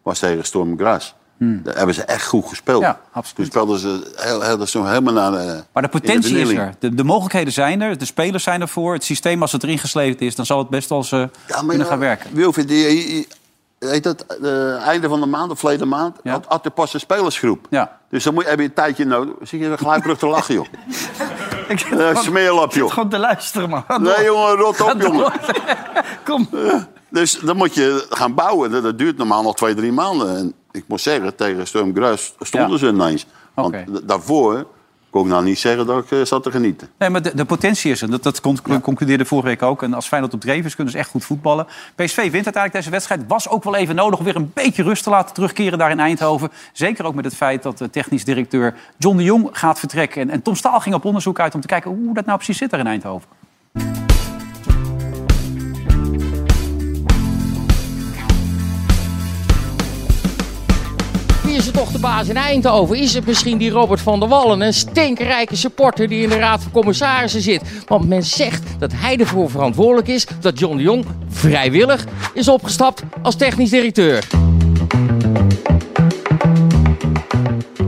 C: was tegen Storm Gras. Daar hebben ze echt goed gespeeld.
B: Hmm. Ja, absoluut.
C: Toen speelden ze heel, heel, zo helemaal naar de...
B: Maar de
C: in
B: potentie is
C: vernieling.
B: er. De, de mogelijkheden zijn er. De spelers zijn ervoor. Het systeem, als het erin gesleept is, dan zal het best wel eens eh,
C: Ja, maar
B: kunnen
C: ja,
B: gaan werken.
C: Wilfried, die, die- heet dat, eh, einde van de maand, of verleden maand,
B: Ja.
C: had, had de pas een spelersgroep.
B: Ja.
C: Dus dan moet, heb je een tijdje nodig. Zie je gelijk terug te lachen, joh.
D: Ik zit
C: Eh, smeerlap, joh.
D: gewoon te luisteren, man.
C: Nee, jongen, rot op, jongen.
D: Kom.
C: Dus dan moet je gaan bouwen. Dat, dat duurt normaal nog twee, drie maanden. En ik moet zeggen, tegen Sturm Gruis stonden
B: Ja.
C: ze ineens. Want
B: Oké.
C: d- daarvoor kon ik nou niet zeggen dat ik eh, zat te genieten.
B: Nee, maar de, de potentie is er. Dat, dat con- concludeerde vorige week ook. En als Feyenoord op dreef is, kunnen ze echt goed voetballen. PSV wint uiteindelijk deze wedstrijd. Was ook wel even nodig om weer een beetje rust te laten terugkeren daar in Eindhoven. Zeker ook met het feit dat de technisch directeur John de Jong gaat vertrekken. En, en Tom Staal ging op onderzoek uit om te kijken hoe dat nou precies zit daar in Eindhoven.
L: Wie is het toch de baas in Eindhoven? Is het misschien die Robert van der Wallen, een stinkrijke supporter die in de Raad van Commissarissen zit? Want men zegt dat hij ervoor verantwoordelijk is dat John de Jong vrijwillig is opgestapt als technisch directeur.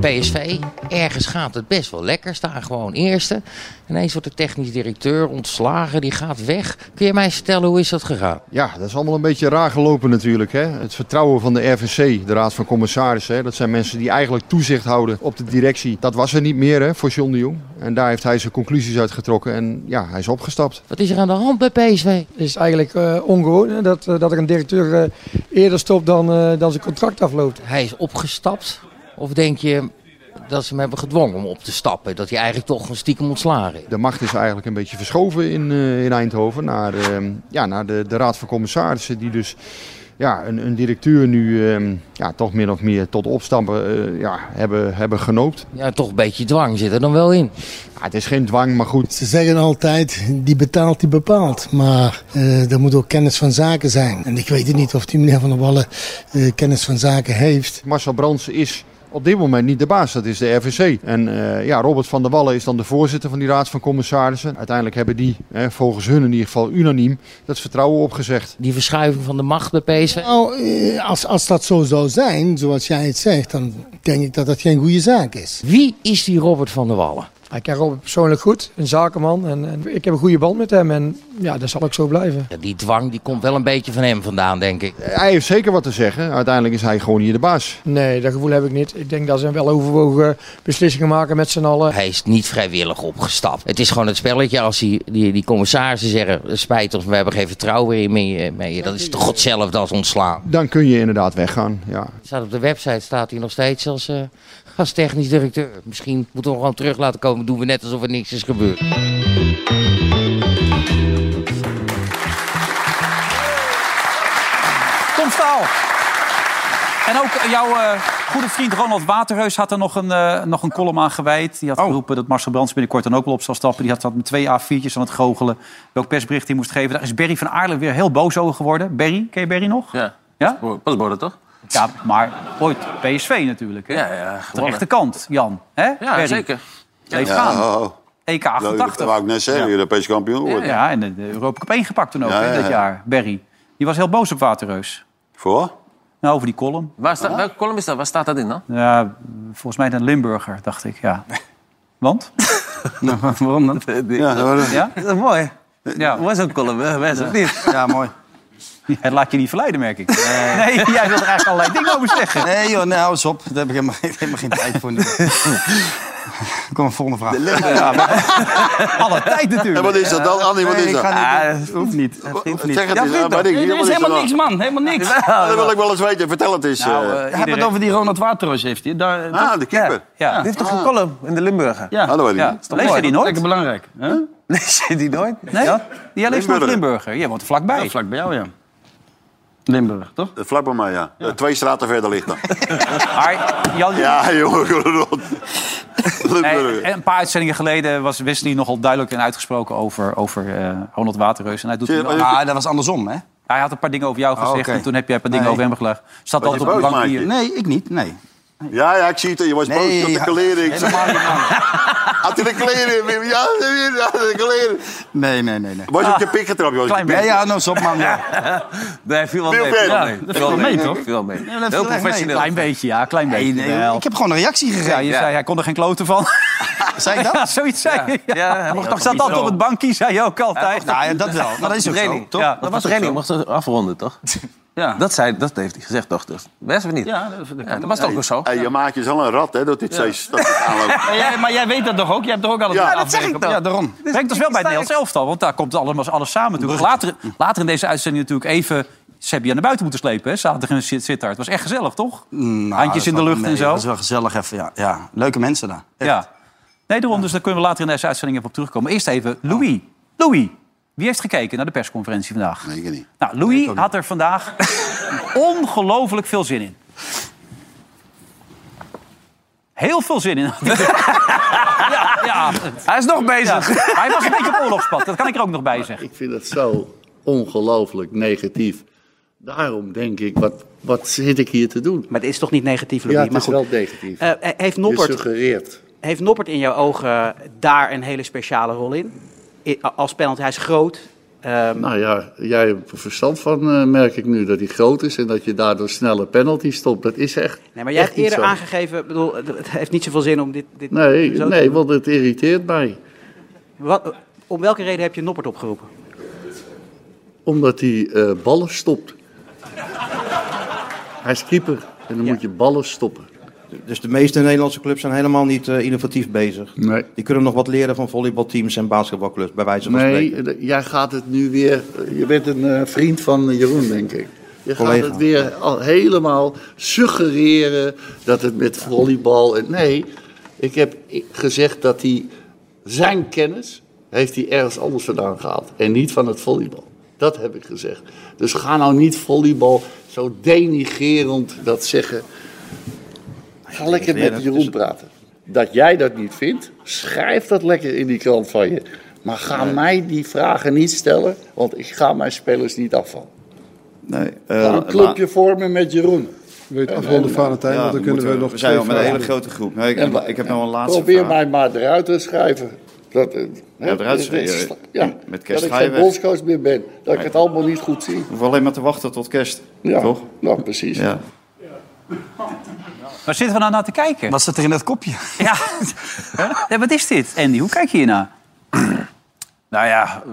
L: PSV, ergens gaat het best wel lekker. Staan gewoon eerste. Ineens wordt de technisch directeur ontslagen, die gaat weg. Kun je mij eens vertellen hoe is dat gegaan?
M: Ja, dat is allemaal een beetje raar gelopen natuurlijk. Hè? Het vertrouwen van de RVC, de Raad van Commissarissen, hè? dat zijn mensen die eigenlijk toezicht houden op de directie. Dat was er niet meer hè, voor John de Jong. En daar heeft hij zijn conclusies uit getrokken en ja, hij is opgestapt.
L: Wat is er aan de hand bij PSV?
N: Het is eigenlijk eh, ongewoon hè, dat, eh, dat er een directeur eh, eerder stopt dan, eh, dan zijn contract afloopt.
L: Hij is opgestapt? Of denk je dat ze hem hebben gedwongen om op te stappen? Dat hij eigenlijk toch een stiekem ontslagen is?
M: De macht is eigenlijk een beetje verschoven in, eh, in Eindhoven naar, ehm, ja, naar de, de Raad van Commissarissen, die dus ja, een, een directeur nu ehm, ja, toch min of meer tot opstappen eh, ja, hebben, hebben genoopt.
L: Ja, toch een beetje dwang zit er dan wel in.
M: Ja, het is geen dwang, maar goed.
O: Ze zeggen altijd, die betaalt, die bepaalt. Maar eh er moet ook kennis van zaken zijn. En ik weet het niet of die meneer Van der Wallen eh, kennis van zaken heeft.
M: Marcel Brands is op dit moment niet de baas, dat is de RVC. En eh, ja, Robert van der Wallen is dan de voorzitter van die raad van commissarissen. Uiteindelijk hebben die, hè, volgens hun in ieder geval unaniem, dat vertrouwen opgezegd.
L: Die verschuiving van de macht bij PSV?
O: Nou, eh, als, als dat zo zou zijn, zoals jij het zegt, dan denk ik dat dat geen goede zaak is.
L: Wie is die Robert van der Wallen?
N: Ik ken Robert persoonlijk goed, een zakenman. En, en ik heb een goede band met hem en ja, dat zal ook zo blijven.
L: Ja, die dwang die komt wel een beetje van hem vandaan, denk ik.
M: Hij heeft zeker wat te zeggen. Uiteindelijk is hij gewoon hier de baas.
N: Nee, dat gevoel heb ik niet. Ik denk dat ze wel overwogen beslissingen maken met z'n allen.
L: Hij is niet vrijwillig opgestapt. Het is gewoon het spelletje als die, die, die commissarissen zeggen... "Het spijt ons, we hebben geen vertrouwen in meer. meer je. Dat is toch God zelf dat ontslaan.
M: Dan kun je inderdaad weggaan. Ja.
L: Staat op de website staat hij nog steeds als, eh, als technisch directeur. Misschien moeten we hem gewoon terug laten komen. Doen we net alsof er niks is gebeurd.
B: Tom Staal. En ook jouw eh, goede vriend Ronald Waterheus had er nog een, eh, nog een column aan gewijd. Die had
F: Oh.
B: geroepen dat Marcel Brands binnenkort dan ook wel op zal stappen. Die had dat met twee A4'tjes aan het goochelen. Welk persbericht hij moest geven. Daar is Berry van Aarle weer heel boos over geworden. Berry, ken je Berry nog?
F: Ja.
B: Ja?
F: Pasborden, toch?
B: Ja, maar ooit PSV natuurlijk. Hè?
F: Ja, ja.
B: Aan de rechterkant, Jan. Hè?
F: Ja,
B: Berry.
F: zeker.
B: Bleef
C: Ja,
B: gaan.
C: oh, oh.
B: EK
C: Dat, dat
B: 88.
C: wou ik net zeggen,
B: Ja.
C: Europees kampioen
B: Ja,
C: worden.
B: ja, en de de Europa Cup 1 gepakt toen ook
C: Ja,
B: hè,
C: ja,
B: dat
C: ja.
B: jaar. Berry. Die was heel boos op Waterreus.
C: Voor?
B: Nou, over die column.
F: Waar staat, welke column is dat? Waar staat dat in dan?
B: Ja, volgens mij een Limburger, dacht ik, ja. Want?
D: Nou,
F: waarom dan? Ja,
B: Ja?
F: Dat is mooi.
B: Ja.
F: Was een column, hè? Wij zijn niet.
D: Ja, mooi.
B: Het laat je niet verleiden, merk ik. Nee, jij wilt er eigenlijk allerlei dingen over zeggen.
D: Nee joh, nee, hou eens op. Daar heb ik helemaal, geen- helemaal geen tijd voor. nu. Kom, volgende vraag.
B: Ja, maar- Alle tijd natuurlijk.
C: En wat is dat dan? Annie, wat
D: Nee,
C: is
D: ik
C: dat?
D: ga niet-
B: dat hoeft niet. Dat hoeft
C: Zeg het
D: Ja,
C: eens, eh,
D: vind
C: ja,
D: dat.
C: weet ik
D: Nee,
C: niet,
D: er
C: wat
D: is
C: er
D: helemaal
C: dan?
D: niks, Nou, man. Helemaal niks.
B: Nou, eh,
C: Ja, Dat wil ik wel eens weten, vertel het eens. eh.
D: Hij heeft het over die Ronald Waterroos heeft hij. Daar,
C: ah, de keeper.
B: Ja.
F: Die heeft toch een column in de Limburger?
D: Ja.
C: Ah, dat weet ik
B: Ja,
C: niet.
B: lees je die nooit?
D: Lekker belangrijk. Huh?
F: Lees je die nooit?
B: Nee?
D: Ja.
B: Jij leest nooit Limburger. Jij woont er vlakbij.
D: Ja, vlak bij jou, ja. Limburg, toch?
C: Eh, Vlak bij mij, ja. Eh, Twee straten verder ligt dat.
B: Maar Jan,
C: ja, jongen, eh, Ronald.
B: Nee,
C: Limburger.
B: en een paar uitzendingen geleden was Wesley nogal duidelijk en uitgesproken over, over eh, Ronald Waterreus. En hij, doet
C: Zie je,
B: nu-
D: Maar dat was andersom, hè?
B: hij had een paar dingen over jou gezegd
D: Oh, oké.
B: en toen heb jij een paar dingen
D: Nee.
B: over hem gelegd. Zat
C: Was je
B: altijd op de
C: boos,
B: bank
C: Mike?
B: hier.
D: Nee, ik niet. Nee.
C: Ja, ja, ik zie het. Je was boos op de
D: ja,
C: kleren. Ik zie-
D: helemaal niet, man.
C: Had hij de kleren in? Wim? Ja, weer, ja, de kleren.
D: Nee, nee, nee. nee.
C: Was je op je pik getrapt, Joost?
B: Klein
D: Ja,
B: beetje.
D: ja, nou eens op, man. Ja.
F: Nee, viel wel
C: Viel
F: mee.
C: mee.
F: Viel wel
C: Ja,
F: mee.
D: dat viel wel mee, toch?
F: Viel wel mee.
D: dat viel
F: Heel
D: echt mee.
F: professioneel.
B: Klein beetje, ja, klein beetje.
D: Nee, nee,
B: wel.
D: ik heb gewoon een reactie
B: ja,
D: gegeven.
B: je zei, hij kon er geen kloten van.
D: Zei ik dat?
B: Ja, zoiets zei je. Ja.
F: Ja, hij
B: Hij
F: mocht toch
B: zat altijd op het bankje, zei je ook altijd.
D: Nou ja, dat wel. Maar dat is ook zo,
F: training,
D: toch?
B: Ja,
F: Dat was training, mocht het afronden, toch?
D: Ja.
F: Dat, zei, dat heeft hij gezegd, toch? Dus, Best of niet?
D: Ja, dat, dat
F: Ja,
D: kan.
F: dat was toch ook zo?
C: Hey, je maakt je wel een rat, hè, dat dit steeds dat dit aanloopt.
D: Maar jij, maar jij weet dat toch ook? Jij hebt toch ook altijd
C: Ja,
D: een
C: dat zeg
D: afwerking
F: ik
D: op-
F: toch.
D: Ja, daarom.
B: Brengt ons wel bij het Nederlands elftal, want daar komt allemaal alles samen. toe. Later, later in deze uitzending natuurlijk even Sebi naar buiten moeten slepen. Hè? Zaterdag in Sit- Sittard. Het was echt gezellig, toch?
D: Nou,
B: Handjes in
D: dat
B: de
D: wel-
B: lucht
D: nee,
B: en zo.
D: Dat is wel gezellig even, ja. ja. Leuke mensen daar.
B: Ja. Nee, daarom. Dus daar kunnen we later in deze uitzending even op terugkomen. Eerst even Louis. Louis, wie heeft gekeken naar de persconferentie vandaag?
C: Nee, ik niet.
B: Nou, Louis had er vandaag ongelooflijk veel zin in. Heel veel zin in. had hij er. ja, ja,
F: Hij is nog
B: ja.
F: bezig.
B: Maar Hij was een beetje op oorlogspad. Dat kan ik er ook nog bij zeggen.
J: Ik vind het zo ongelooflijk negatief. Daarom denk ik, wat, wat zit ik hier te doen?
P: Maar het is toch niet negatief, Louis?
J: Ja, het
P: maar
J: is
P: goed.
J: wel negatief.
P: Eh, eh, heeft,
J: Je
P: Noppert,
J: suggereert.
P: heeft Noppert in jouw ogen daar een hele speciale rol in? I- als penalty, hij is groot. Ehm,
J: Nou ja, jij hebt er verstand van, eh, merk ik nu, dat hij groot is en dat je daardoor snelle penalty stopt. Dat is echt.
P: nee, maar jij
J: echt
P: hebt
J: niet
P: eerder
J: zo.
P: aangegeven, ik bedoel, het- het heeft niet zoveel zin om dit, dit
J: Nee,
P: zo te
J: nee,
P: doen.
J: want het irriteert mij.
P: Wat, om welke reden heb je Noppert opgeroepen?
J: Omdat hij eh, ballen stopt. Hij is keeper en dan moet je ballen stoppen.
Q: Dus de meeste Nederlandse clubs zijn helemaal niet eh, innovatief bezig.
J: Nee.
Q: Die kunnen nog wat leren van volleybalteams en basketbalclubs, bij wijze van spreken.
J: Nee, d- jij gaat het nu weer. Je bent een eh, vriend van Jeroen, denk ik. Je
Q: Collega.
J: gaat het weer al helemaal suggereren dat het met volleybal. En nee, ik heb i- gezegd dat hij zijn kennis heeft hij ergens anders vandaan gehaald en niet van het volleybal. Dat heb ik gezegd. Dus ga nou niet volleybal zo denigerend dat zeggen. Ga lekker met Jeroen praten. Dat jij dat niet vindt, schrijf dat lekker in die krant van je. Maar ga mij die vragen niet stellen, want ik ga mijn spelers niet afvallen.
Q: Nee,
J: Ga
Q: eh,
J: een clubje vormen met Jeroen.
R: Weet afronden Valentijn, want dan kunnen we, nog eh,
Q: We zijn al
R: twee
Q: met een hele
R: vragen
Q: grote groep. Nee, ik,
J: En wa-
Q: ik heb nog een laatste
J: Probeer
Q: vraag.
J: mij maar eruit te schrijven. Dat, eh, hè,
Q: eruit
J: dit is-
Q: schrijven,
J: Ja,
Q: met Kees
J: dat ik geen
Q: Schrijver.
J: bondscoach meer ben. Dat ik
Q: Nee.
J: het allemaal niet goed zie. nou,
Q: We hoeven alleen maar te wachten tot kerst.
J: Ja,
Q: Toch?
J: nou precies.
Q: Ja.
B: Waar zitten we nou naar te kijken? Wat
D: zit er in dat kopje?
B: Ja. ja, wat is dit, Andy? Hoe kijk je hiernaar?
F: Nou ja,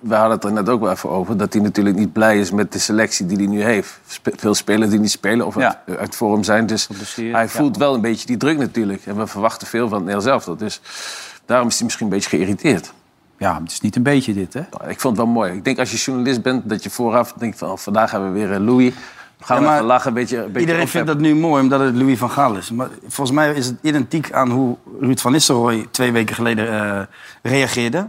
F: we hadden het er net ook wel even over. Dat hij natuurlijk niet blij is met de selectie die hij nu heeft. Spe- veel spelers die niet spelen of uit, uit vorm zijn. Dus hij voelt wel een beetje die druk natuurlijk. En we verwachten veel van het Nederlands elftal. Dus daarom is hij misschien een beetje geïrriteerd.
B: Ja, het is niet een beetje dit, hè?
F: Ik vond het wel mooi. Ik denk als je journalist bent, dat je vooraf denkt van... oh, vandaag hebben we weer eh, Louis. We gaan
D: Ja, maar
F: even lachen, een beetje, een beetje
D: Iedereen vindt
F: opheffen.
D: dat nu mooi omdat het Louis van Gaal is. Maar volgens mij is het identiek aan hoe Ruud van Nistelrooy twee weken geleden eh, reageerde.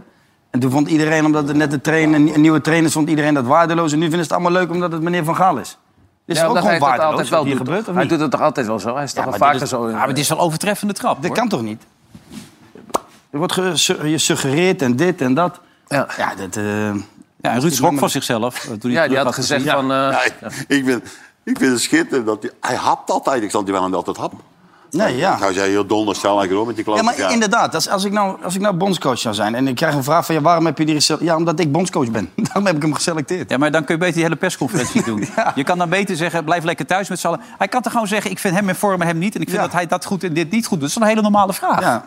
D: En toen vond iedereen, omdat er net de trainer, een nieuwe trainer is, vond iedereen dat waardeloos. En nu vinden ze het allemaal leuk omdat het meneer van Gaal is. Dit is
F: Ja,
D: ook gewoon
F: omdat hij het
D: waardeloos
F: altijd wel
D: wat hier
F: doet.
D: gebeurt, of
F: Hij
D: niet?
F: doet het toch altijd wel zo? Hij is toch wel
D: maar
F: vaker
D: dit is-
F: zo. in-
D: ja, maar dit is wel
B: overtreffende trap.
D: Dat kan toch niet? Er wordt gesuggereerd en dit en dat. Ja, dat...
B: Ja, en Ruud schrok van zichzelf. eh, Toen hij terug gezien.
F: eh,
D: eh,
C: Ja, ik- ik, vind, ik vind het schitterend. Dat hij, hij hapt altijd. Ik zat die wel aan dat het hap.
D: Nee, ja.
C: Nou, zei heel donder, stel lekker op met die
D: Ja,
C: klanten.
D: maar inderdaad, als, als, ik nou, als ik nou bondscoach zou zijn en ik krijg een vraag van ja, waarom heb je die geselecteerd? Ja, omdat ik bondscoach ben. Daarom heb ik hem geselecteerd.
B: Ja, maar dan kun je beter die hele persconferentie doen. Je kan dan beter zeggen, blijf lekker thuis met z'n allen. Hij kan toch gewoon zeggen, ik vind hem in vorm en hem niet. En ik vind dat hij dat goed en dit niet goed doet. Dat is een hele normale vraag.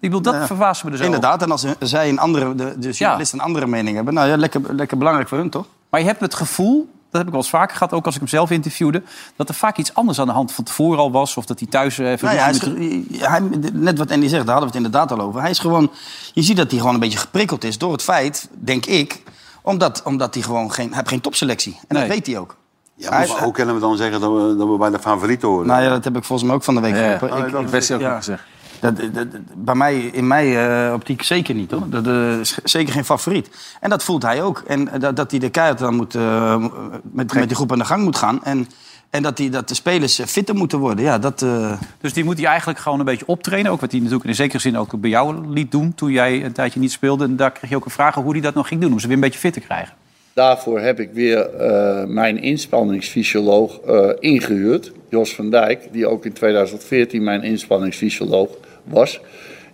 B: Ik bedoel, dat
D: Ja.
B: verbaast me dus over.
D: Inderdaad, en als hun- zij een andere, de, de journalisten een andere mening hebben, nou ja, lekker, lekker belangrijk voor hun toch?
B: Maar je hebt het gevoel, dat heb ik wel eens vaker gehad... ook als ik hem zelf interviewde... dat er vaak iets anders aan de hand van tevoren al was... of dat hij thuis eh, even...
D: Nou ja, hij is,
B: ruzie met-
D: ge- hij, net wat Andy zegt, daar hadden we het inderdaad al over. Hij is gewoon, je ziet dat hij gewoon een beetje geprikkeld is door het feit, denk ik, omdat, omdat hij gewoon geen, hij heeft geen topselectie. En dat weet hij ook.
C: Ja, maar
D: Hij-
C: hoe kunnen we dan zeggen dat we, dat we bij de favorieten horen?
D: Nou ja, dat heb ik volgens mij ook van de week
C: Ja, ja.
D: geroepen.
C: Oh, dat is best heel goed
F: gezegd.
D: Dat, dat- dat- bij mij, in mijn eh, optiek zeker niet, hoor. Dat eh, is ge- zeker geen favoriet. En dat voelt hij ook. En eh, dat, dat hij de keihard dan moet, eh, m- met, met die groep aan de gang moet gaan. En, en dat, die, dat de spelers eh, fitter moeten worden. Ja, dat, eh,
B: Dus die moet hij eigenlijk gewoon een beetje optrainen. Ook wat hij natuurlijk in zekere zin ook bij jou liet doen... toen jij een tijdje niet speelde. En daar kreeg je ook een vraag over hoe hij dat nog ging doen... om ze weer een beetje fit te krijgen.
J: Daarvoor heb ik weer eh, mijn inspanningsfysioloog eh, ingehuurd. Jos van Dijk, die ook in 2014 mijn inspanningsfysioloog was.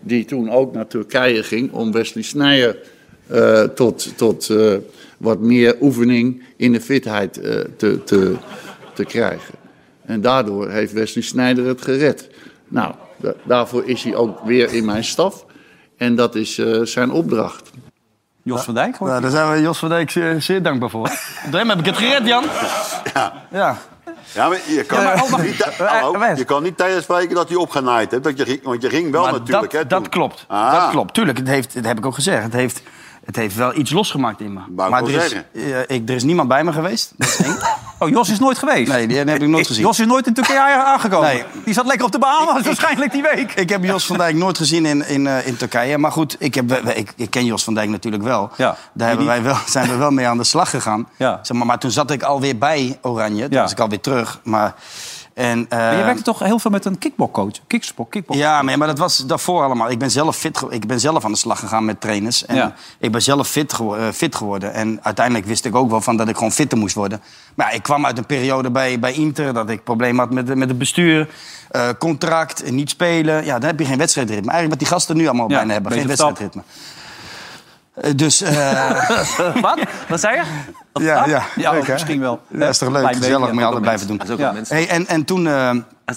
J: Die toen ook naar Turkije ging om Wesley Sneijder eh, tot, tot eh, wat meer oefening in de fitheid eh, te, te, te krijgen. En daardoor heeft Wesley Sneijder het gered. Nou, da- daarvoor is hij ook weer in mijn staf. En dat is eh, zijn opdracht.
B: Jos van Dijk?
D: nou, daar zijn we Jos van Dijk zeer, zeer dankbaar voor. Door hem heb ik het gered, Jan.
C: Ja.
D: Ja.
C: Ja, maar je kan,
D: Ja, maar-
C: niet- niet, hallo, je kan niet tegenspreken dat hij opgenaaid hebt. Dat je, ging- want je ging wel
D: Maar
C: natuurlijk.
D: dat,
C: hè,
D: dat
C: toen.
D: klopt.
C: Ah.
D: Dat klopt. Tuurlijk, het heeft, dat heb ik ook gezegd. Het heeft, het heeft wel iets losgemaakt in me.
C: ik
D: maar
C: wel
D: er is, eh, ik, er is niemand bij me geweest. Dat is één.
B: Oh, Jos is nooit geweest?
D: Nee, die heb ik nooit gezien.
B: Jos is dus nooit in Turkije aangekomen.
D: Nee.
B: Die zat lekker op de Bahamas waarschijnlijk die week.
D: Ik heb Jos van Dijk nooit gezien in, in, eh, in Turkije. Maar goed, ik, heb, we- we- ik, ik ken Jos van Dijk natuurlijk wel. Daar hebben wij wel, zijn we wel mee aan de slag gegaan. Zeg maar, maar toen zat ik alweer bij Oranje. Toen was ik alweer terug. Maar, en,
B: Maar je
D: eh,
B: werkte toch heel veel met een kickbokcoach? Kickspok, kickbok.
D: Ja, maar, maar dat was daarvoor allemaal. Ik ben zelf, fit ge- ik ben zelf aan de slag gegaan met trainers. En
B: Ja.
D: ik ben zelf fit, gewo- eh, fit geworden. En uiteindelijk wist ik ook wel van dat ik gewoon fitter moest worden. Maar ja, ik kwam uit een periode bij, bij Inter dat ik problemen had met, met het bestuur. eh, contract, eh, niet spelen. Ja, dan heb je geen wedstrijdritme. Eigenlijk wat die gasten nu allemaal
B: Ja,
D: bijna hebben.
B: beetje
D: Geen
B: vertaald.
D: wedstrijdritme. Eh, Dus... eh,
B: Wat? Wat zei je?
D: ja, oh, ja.
B: Ja,
D: Leuk, hè?
B: misschien wel.
D: Ja, is toch leuk?
B: Klein
D: Gezellig,
B: beetje,
D: moet je
B: ja,
D: altijd blijven doen.
B: dat is ook wel mensen.
D: Hey, en, en toen, eh,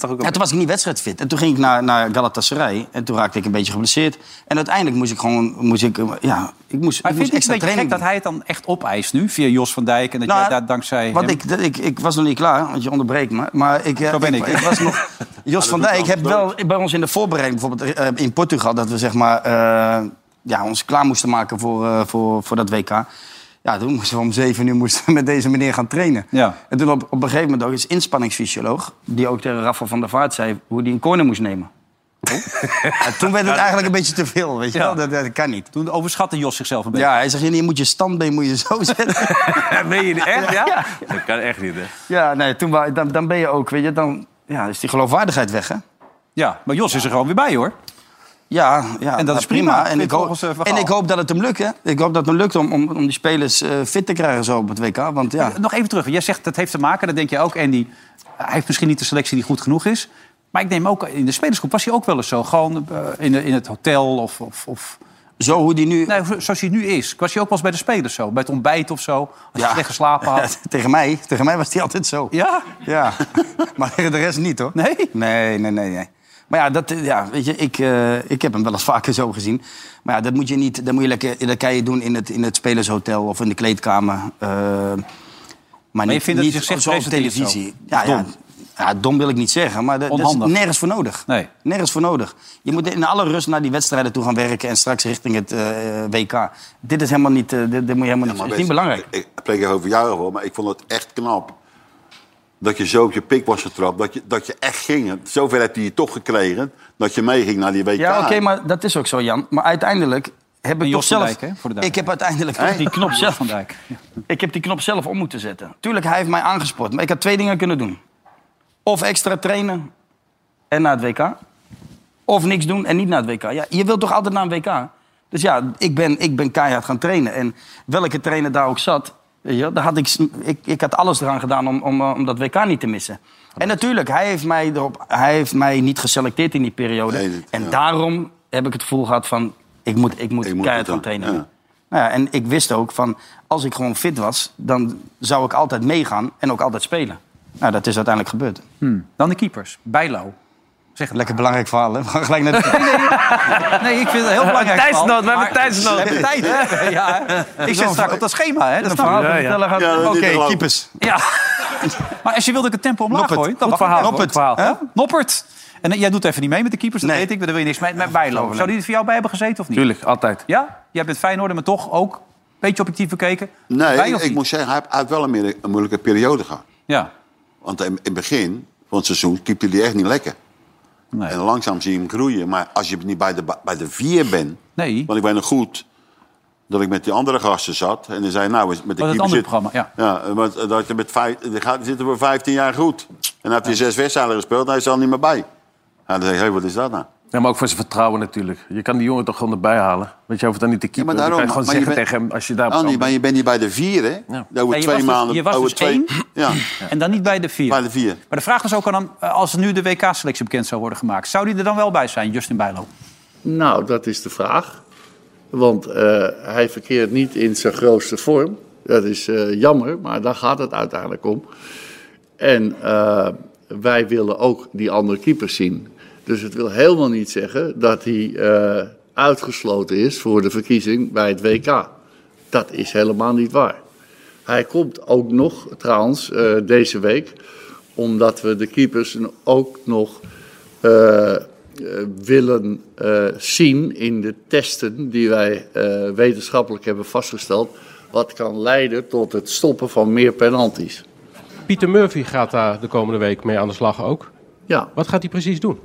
B: ook
D: ja, toen was ik niet wedstrijdfit. En toen ging ik naar, naar Galatasaray. En toen raakte ik een beetje geblesseerd. En uiteindelijk moest ik gewoon... Moest ik, eh, ja,
B: Maar vind
D: ik moest, ik moest
B: je het
D: extra
B: niet een beetje gek
D: training
B: dat
D: doen.
B: hij het dan echt opeist nu? Via Jos van Dijk en dat
D: Nou,
B: jij daar dankzij
D: Want
B: hem-
D: ik, dat- ik, ik was nog niet klaar, want je onderbreekt me. Maar ik, eh,
B: Zo ben ik.
D: was nog... Jos van Dijk, ik heb wel bij ons in de voorbereiding bijvoorbeeld eh, in Portugal... dat we zeg maar, eh, ja, ons klaar moesten maken voor, eh, voor, voor dat WK. Ja, toen moesten we om zeven uur moesten we met deze meneer gaan trainen.
B: Ja.
D: En toen op, op een gegeven moment ook is inspanningsfysioloog... die ook tegen Rafa van der Vaart zei hoe hij een corner moest nemen. Oh. En toen werd het eigenlijk een beetje te veel, weet je wel. Dat, dat kan niet.
B: Toen overschatte Jos zichzelf een beetje.
D: Ja, hij zegt, je moet je standbeen moet je zo zetten.
F: Meen je dit echt? Ja?
D: Ja.
F: Dat kan echt niet, hè?
D: Ja, nee, toen, wa- dan, dan ben je ook, weet je, dan ja, is die geloofwaardigheid weg, hè?
B: Ja, maar Jos is er gewoon weer bij, hoor.
D: Ja, ja
B: En dat
D: nou,
B: is prima.
D: En, ik hoop,
B: Volgens, eh, Van
D: en
B: Gaal.
D: ik hoop dat het hem lukt, hè? Ik hoop dat het hem lukt om, om, om die spelers eh, fit te krijgen zo op het WK. Want ja,
B: Eh, Nog even terug. Jij zegt dat heeft te maken, dat denk je ook, Andy. Eh, Hij heeft misschien niet de selectie die goed genoeg is. Maar ik neem ook in de spelersgroep was hij ook wel eens zo. Gewoon eh, in, in het hotel of, of, of
D: Zo hoe die nu...
B: Nee, zoals hij nu is. Was hij ook wel eens bij de spelers zo? Bij het ontbijt of zo? Als hij
D: Ja.
B: slecht geslapen had?
D: tegen, mij, tegen mij was die altijd zo.
B: Ja?
D: Ja, maar tegen de rest niet hoor. Nee? Nee, nee, nee. nee. Maar ja, dat, eh, ja weet je, ik, eh, ik heb hem wel eens vaker zo gezien. Maar ja, dat moet je niet, dat moet je lekker, dat kan je doen in het, in het spelershotel of in de kleedkamer. eh, maar,
B: je
D: niet,
B: vindt dat
D: niet
B: hij zich
D: zoals op
B: presenteert
D: televisie.
B: zo?
D: Ja, ja,
B: Dom.
D: ja, dom wil ik niet zeggen, maar dat, dat is
B: Onhandig.
D: nergens voor nodig.
B: Nee.
D: Nergens voor nodig. Je moet in alle rust naar die wedstrijden toe gaan werken en straks richting het eh, WK. Dit is helemaal niet, eh, dit, dit moet je helemaal niet.
C: maar
D: Het
C: weet je,
D: is niet belangrijk.
C: Ik, ik spreek even over jou hoor, maar ik vond het echt knap. Dat je zo op je pik was getrapt. Dat je, dat je echt ging. Zover heb je je toch gekregen. Dat je meeging naar die WK.
D: Ja, oké, maar dat is ook zo, Jan. Maar uiteindelijk heb ik
B: Jos
D: toch
B: van
D: zelf...
B: Dijk, hè, voor de duidelijkheid.
D: ik heb uiteindelijk
B: Hè?
D: toch die knop
B: Jos
D: zelf...
B: van Dijk.
D: Ik heb die knop zelf om moeten zetten. Tuurlijk, hij heeft mij aangespoord. Maar ik had twee dingen kunnen doen. Of extra trainen en naar het WK. Of niks doen en niet naar het WK. Ja, je wilt toch altijd naar een WK? Dus ja, ik ben, ik ben keihard gaan trainen. En welke trainer daar ook zat... weet je wel, daar had ik, s- ik, ik had alles eraan gedaan om, om, eh, om dat WK niet te missen. En natuurlijk, hij heeft, mij erop, hij heeft mij niet geselecteerd in die periode. en daarom heb ik het gevoel gehad van... ik moet, ik moet keihard gaan trainen. Nou ja, en ik wist ook van, als ik gewoon fit was, dan zou ik altijd meegaan en ook altijd spelen. Nou, dat is uiteindelijk gebeurd.
B: Dan de keepers. Bijlo. Zeg
D: Lekker belangrijk verhaal, hè? We gaan gelijk naar de...
B: Nee, ik vind het heel
D: We hebben
B: belangrijk.
D: tijdsnood,
B: Paul,
D: we hebben
B: maar- We
D: tijdsnood.
B: hebben tijd, hè? Ja, hè? ik zit strak op dat schema, hè? Dat
D: Een
B: snap
D: verhaal
B: je.
D: te vertellen gaat- Ja, dat Oké, duurt lang. keepers.
B: Ja. Maar als je wilde ik het tempo omlaag
D: Noppert.
B: gooien, dan
D: Goed
B: mag
D: verhaal.
B: het. Goed verhaal.
D: Noppert, hè?
B: Noppert. En eh, jij doet even niet mee met de keepers, dat weet ik. maar Daar wil je niks mee, met bijlopen. Zou die er voor jou bij hebben gezeten of niet?
F: Tuurlijk, altijd.
B: Ja? Jij bent Feyenoorder, maar toch ook een beetje objectief bekeken.
C: Nee,
B: Bij
C: ik,
B: of
C: ik
B: niet?
C: moet zeggen, hij heeft- hij heeft wel een, meer- een moeilijke periode gehad.
B: Ja.
C: Want in het begin van het seizoen keepte hij echt niet lekker. En langzaam zie je hem groeien. Maar als je niet bij de, ba- bij de vier bent...
B: Nee.
C: Want ik weet nog goed dat ik met die andere gasten zat. En die zei, nou, is- met de
B: Was het
C: keeper
B: andere
C: zit...
B: programma, ja.
C: Ja, want dat je met vijf, die gaat, zitten we 15 jaar goed. En dan heeft hij zes wedstrijden gespeeld en hij is er al niet meer bij. Ja, dan zeg je, hé, wat is dat nou?
F: Ja, maar ook voor zijn vertrouwen natuurlijk. Je kan die jongen toch gewoon erbij halen. Want je hoeft dan niet te keeper.
C: daarom,
F: je kan gewoon
C: maar je
F: zeggen
C: bent-
F: tegen hem als je daar
C: Andy, maar je bent niet bij de vier, hè? Over
B: Nee, je
C: twee
B: was dus-
C: maanden.
B: je was
C: over
B: dus
C: twee,
B: één.
C: Ja.
B: En dan niet bij de vier.
C: Bij de vier.
B: Maar de vraag was ook aan hem, eh, als nu de WK-selectie bekend zou worden gemaakt... zou die er dan wel bij zijn, Justin Bijlo?
J: Nou, dat is de vraag. Want eh, hij verkeert niet in zijn grootste vorm. Dat is eh, jammer, maar daar gaat het uiteindelijk om. En eh, wij willen ook die andere keepers zien. Dus het wil helemaal niet zeggen dat hij eh, uitgesloten is voor de verkiezing bij het WK. Dat is helemaal niet waar. Hij komt ook nog, trouwens, eh, deze week, omdat we de keepers ook nog eh, eh, willen eh, zien in de testen die wij eh, wetenschappelijk hebben vastgesteld, wat kan leiden tot het stoppen van meer penalties.
S: Pieter Murphy gaat daar de komende week mee aan de slag ook.
J: Ja.
S: Wat gaat hij precies doen?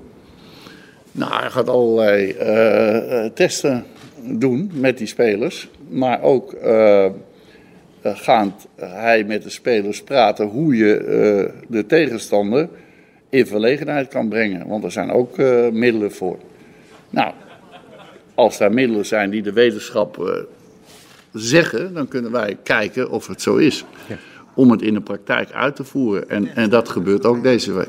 J: Nou, hij gaat allerlei eh, eh, testen doen met die spelers. Maar ook eh, eh, gaat hij met de spelers praten hoe je eh, de tegenstander in verlegenheid kan brengen. Want er zijn ook eh, middelen voor. Nou, als daar middelen zijn die de wetenschap eh, zeggen, dan kunnen wij kijken of het zo is. Om het in de praktijk uit te voeren. En, en dat gebeurt ook deze week.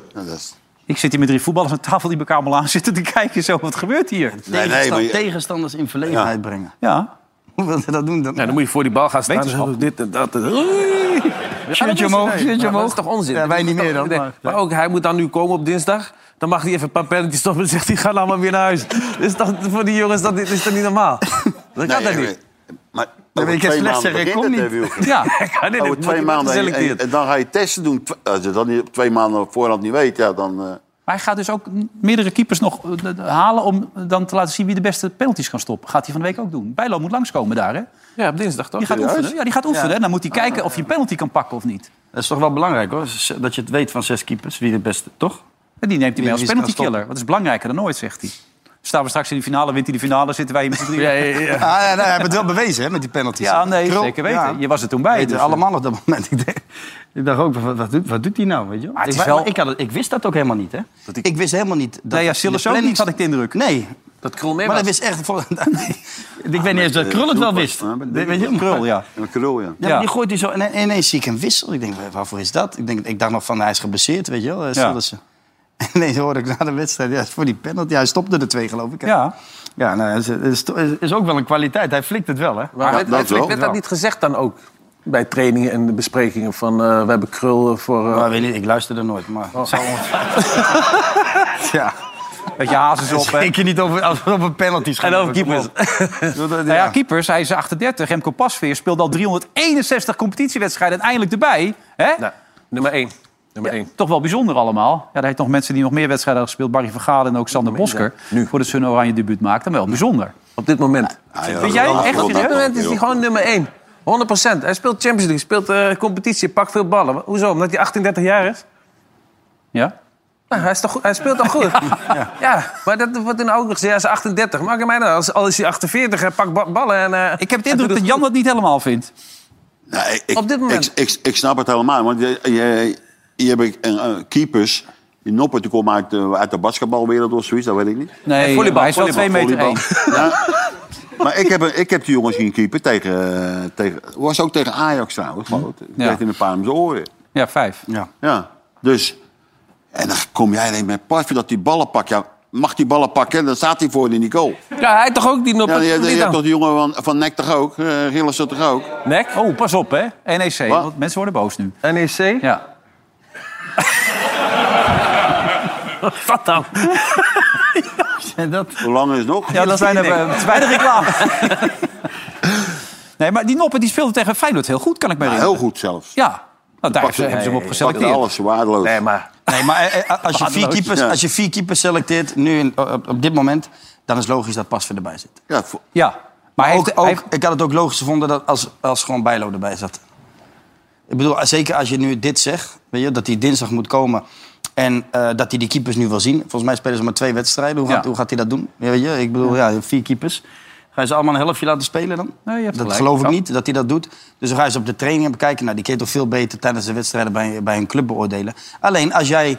B: Ik zit hier met drie voetballers aan tafel die elkaar allemaal aan zitten te kijken. Zo, wat gebeurt hier?
D: Tegenstand- Tegenstanders in verlegenheid brengen.
B: Ja.
D: Hoe wil je dat doen dan?
F: Ja, dan moet je voor die bal gaan staan.
D: Wetenschap.
F: Dit en dat.
D: Shirtje omhoog, shirtje
F: Dat
D: omhoog.
F: is toch onzin?
D: Ja, wij niet meer dan,
F: Nee,
D: maar-
F: Maar, ook, hij moet dan nu komen op dinsdag. Dan mag hij even een paar penalties stoppen en zegt hij, ga allemaal weer naar huis. Is dat, voor die jongens dat, is dat niet normaal? Dat kan dat niet.
C: eh, Maar
F: Dan weet je slecht zeggen, ik kom niet.
C: Ja,
F: Ja, nee, nee,
C: over
F: wordt-
C: twee
F: wordt
C: maanden en,
F: geselecteerd.
C: en- en dan ga je testen doen. Tw- Als je dat niet op twee maanden op voorhand niet weet, ja, dan... eh,
B: Maar hij gaat dus ook m- meerdere keepers nog eh, d- d- halen... om dan te laten zien wie de beste penalties kan stoppen. Gaat hij van de week ook doen. Bijlo moet langskomen daar, hè?
F: Ja, op dinsdag toch?
B: Die gaat
D: Serieus?
B: oefenen. Ja, die gaat oefenen.
D: Ja. Ah.
B: hè. Dan moet hij kijken of hij een penalty kan pakken of niet.
D: Dat is toch wel belangrijk, hoor. Dat je het weet van zes keepers, wie de beste, toch?
B: En die neemt hij mee als
D: Wie- wie is er aan
B: penalty
D: het
B: killer. Wat is belangrijker dan ooit, zegt hij. Staan we straks in de finale, wint hij de finale, zitten wij hier met z'n drieën.
D: Ja, ja, ja. Ah, ja, nou, hij heeft het wel bewezen, hè, met die penalties.
B: Ja, nee,
D: Krul.
B: zeker weten.
D: Ja.
B: Je was er toen bij.
D: Weten
B: dus, eh.
D: allemaal op dat moment. Ik dacht, ik dacht ook, wat, wat doet, wat doet hij nou, weet je wel?
B: het
D: ik,
B: is
D: maar-
B: wel-
D: maar ik, had het- ik wist dat ook helemaal niet, hè? ik... wist helemaal niet... Dat
B: Nee, ja,
D: het in de
B: Silas ook niet,
D: planning-
B: had ik de indruk.
D: Nee.
F: Dat krul mee
D: Maar dat
F: was.
D: wist echt... Vol... Nee. Ik weet niet eens dat
C: eh,
D: Krul het wel
C: Doelpas,
D: wist.
C: hè, met
D: Weet je?
B: Krul, ja.
C: Een krul, ja.
D: Ja, maar die gooit hij zo. En en ineens zie ik hem wisselen. Ik denk, wa- waarvoor is dat? Ik, denk, ik dacht nog van, hij is geblesseerd, weet je wel. eh,
B: Ja.
D: Sillissen. En ineens hoorde ik na de wedstrijd, ja, voor die penalty. Hij stopte er twee, geloof ik. hè?
B: Ja.
D: Ja, nou, is, is, is ook wel een kwaliteit. Hij flikt het wel, hè?
F: Maar werd, werd- werd dat niet gezegd dan ook? Bij trainingen en de besprekingen van eh, we hebben krul voor... eh,
D: Nou, weet niet, ik luister er nooit,
B: Oh,
D: maar... het zou ons- ja.
B: Beetje hazes op, hè?
D: Zeker niet over, als het over penalties gaat.
B: En over keepers.
D: ja.
B: Nou ja, keepers, hij is 38. Remco Pasveer speelde al 361 competitiewedstrijden en eindelijk erbij. Hè?
F: nou, nummer 1. Nummer één.
B: Toch wel bijzonder allemaal. Ja, daar heeft nog mensen die nog meer wedstrijden hebben gespeeld. Barry Vergade en ook Sander Bosker. Voordat ze hun oranje debuut maakten. Maar wel bijzonder.
F: Op dit moment.
C: Ah,
B: Vind
F: Vind
B: jij
F: jij
B: echt
F: echt? Op dit moment is hij gewoon nummer 1. 100 Hij speelt Champions League, speelt eh, competitie, pakt veel ballen. Maar Hoezo? Omdat hij 18, 30 jaar is?
B: Ja?
F: Nou, hij, is toch goed, hij speelt toch goed? ja. maar dat wordt in de ogen gezegd. Hij is 38. Maak hem mij nou, als, al is hij 48, hij pakt ba- ballen en... eh,
B: Ik heb het
F: hij doet
B: indruk dat Jan dat niet helemaal vindt.
C: Nou, ik, ik-
F: Op dit moment.
C: Ik, ik, ik snap het helemaal. Want je, je, je hebt een, eh, keepers. Die Noppen die komen uit de, uit de basketbalwereld of zoiets, dat weet ik niet.
B: Nee, Eh, volleybal, hij is wel volleybal, twee meter
C: volleybal. Ja. Maar ik heb, een- ik heb die jongens zien keeper tegen, eh, tegen... was ook tegen Ajax trouwens, geloof ik.
B: Ja.
C: Kreeg in een paar om zijn oren.
B: Ja, vijf.
D: Ja.
C: Ja, dus... En dan kom jij alleen met Parfum dat die ballen pakt. Ja, mag die ballen pakken, dan staat hij voor in die goal.
F: Ja, hij toch ook die
C: Ja,
F: Noppen?
C: je, je
F: die
C: hebt
F: dan?
C: toch die jongen van, van NEC toch ook? Uh, Gillissen toch ook?
B: Nek? Oh, pas op, hè. NEC. Want mensen worden boos nu.
D: E
F: NEC?
B: Ja.
F: Wat dan?
C: Hoe lang is het nog?
B: Ja, dat is bijna, eh, het is bijna reclame. nee, maar die Noppen die speelde tegen Feyenoord heel goed, kan ik me herinneren.
C: Heel goed zelfs.
B: Ja, nou, daar hebben ze, hebben ze hem op geselecteerd.
C: Pakte alles waardeloos.
F: Nee, maar...
D: Nee, maar eh, eh, als
B: Ah,
D: je, vier
C: Waardeloos.
D: keepers,
C: Ja.
D: als je vier keepers selecteert, nu in- op, op dit moment... dan is logisch dat Pasveer erbij zit.
C: Ja,
B: Ja, maar
D: ook, ook, ik had het ook logisch gevonden dat als, als gewoon Bijlo erbij zat. Ik bedoel, zeker als je nu dit zegt, weet je, dat hij dinsdag moet komen... en eh, dat hij die keepers nu wil zien. Volgens mij spelen ze maar twee wedstrijden. Hoe gaat,
B: Ja.
D: hoe gaat hij dat doen? Ja, weet je, ik bedoel, ja, vier keepers. Ga je ze allemaal een helftje laten spelen dan?
B: Nee, je hebt
D: dat
B: gelijk.
D: geloof ik
B: Ja.
D: niet, dat hij dat doet. Dus dan ga je ze op de trainingen bekijken. Nou, die kun je toch veel beter tijdens de wedstrijden bij, bij een club beoordelen. Alleen als jij...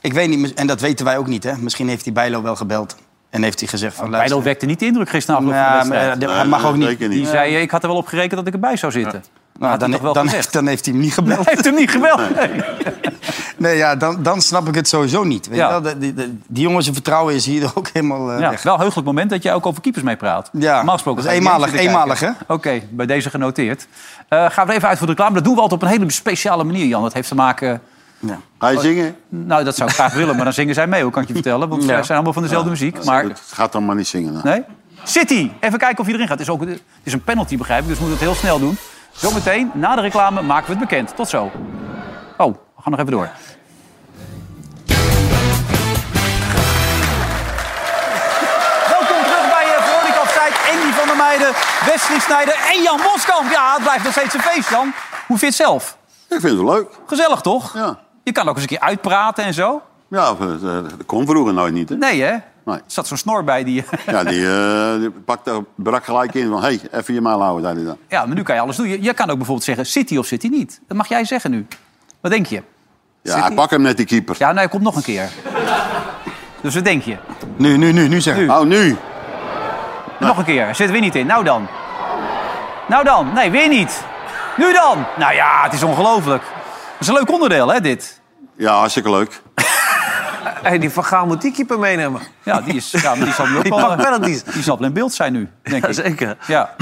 D: Ik weet niet, en dat weten wij ook niet, hè. Misschien heeft hij Bijlo wel gebeld. En heeft hij gezegd van...
B: Bijlo
D: luister,
B: wekte niet de indruk gisteravond
D: Ja,
B: van de
D: maar,
B: wedstrijd.
D: eh, dat- hij mag ook niet. Zeker niet.
B: Die zei, eh, ik had er wel op gerekend dat ik erbij zou zitten.
D: nou, dan,
B: toch wel
D: dan,
B: gezegd.
D: dan heeft hij hem niet gebeld.
B: Hij heeft hem niet gebeld.
D: Nee, ja, dan, dan snap ik het sowieso niet. Weet
B: Ja.
D: je wel? De- de- de- die jongens zijn vertrouwen is hier ook helemaal eh,
B: Ja,
D: weg.
B: wel een heugelijk moment dat jij ook over keepers mee praat.
D: Ja,
B: Normaal gesproken
D: dat is
B: ga je
D: eenmalig,
B: niet eens zitten
D: eenmalig,
B: kijken. Oké, bij deze genoteerd. Eh, gaan we er even uit voor de reclame. Dat doen we altijd op een hele speciale manier, Jan. Dat heeft te maken...
D: Ja.
C: Ga
F: Oh,
C: je zingen?
B: Nou, dat zou ik graag willen, maar dan zingen zij mee, hoor, kan ik je vertellen. Want
C: Ja.
B: zij zijn allemaal van dezelfde muziek. Maar
C: Het gaat dan maar niet zingen. nou. hè.
B: Nee? City, even kijken of hij erin gaat. Het is, ook, het is een penalty, begrijp ik, dus we moeten het heel snel doen. Zometeen, na de reclame, maken we het bekend. Tot zo. Oh, we gaan nog even door. Welkom terug bij eh, Veronica Offside. Andy van der Meijden, Wesley Snijder en Jan Boskamp. Ja, het blijft nog steeds een feest, Jan. Hoe vind je het zelf?
C: Ik vind het leuk.
B: Gezellig, toch?
C: Ja.
B: Je kan ook eens een keer uitpraten en zo.
C: Ja, dat dat kon vroeger nooit niet. Hè?
B: Nee, hè?
C: Nee.
B: Er zat zo'n snor bij die...
C: Ja, die, eh, die pakte, brak gelijk in van, hé, hey, even je maal houden, zei hij dan.
B: Ja, maar nu kan je alles doen. Je, je kan ook bijvoorbeeld zeggen City of City niet. Dat mag jij zeggen nu. Wat denk je?
C: Ja, hij pak hem net, die keeper.
B: Ja, nou, hij komt nog een keer. Dus wat denk je?
D: Nu, nu, nu, nu zeg
B: Nu.
C: Oh, nu?
B: Nog een keer. Zit weer niet in. Nou dan. Nou dan. Nee, weer niet. Nu dan. Nou ja, het is ongelooflijk. Het is een leuk onderdeel, hè, dit.
C: Ja, hartstikke leuk.
F: Hey, die Van Gaal moet die keeper meenemen.
B: Ja, die, is, ja, maar die zal nu ook
F: Die
B: wel,
F: pakt
B: eh,
F: penalties.
B: Die zal wel in beeld zijn nu, denk
F: Ja,
B: ik.
F: zeker.
B: Ja.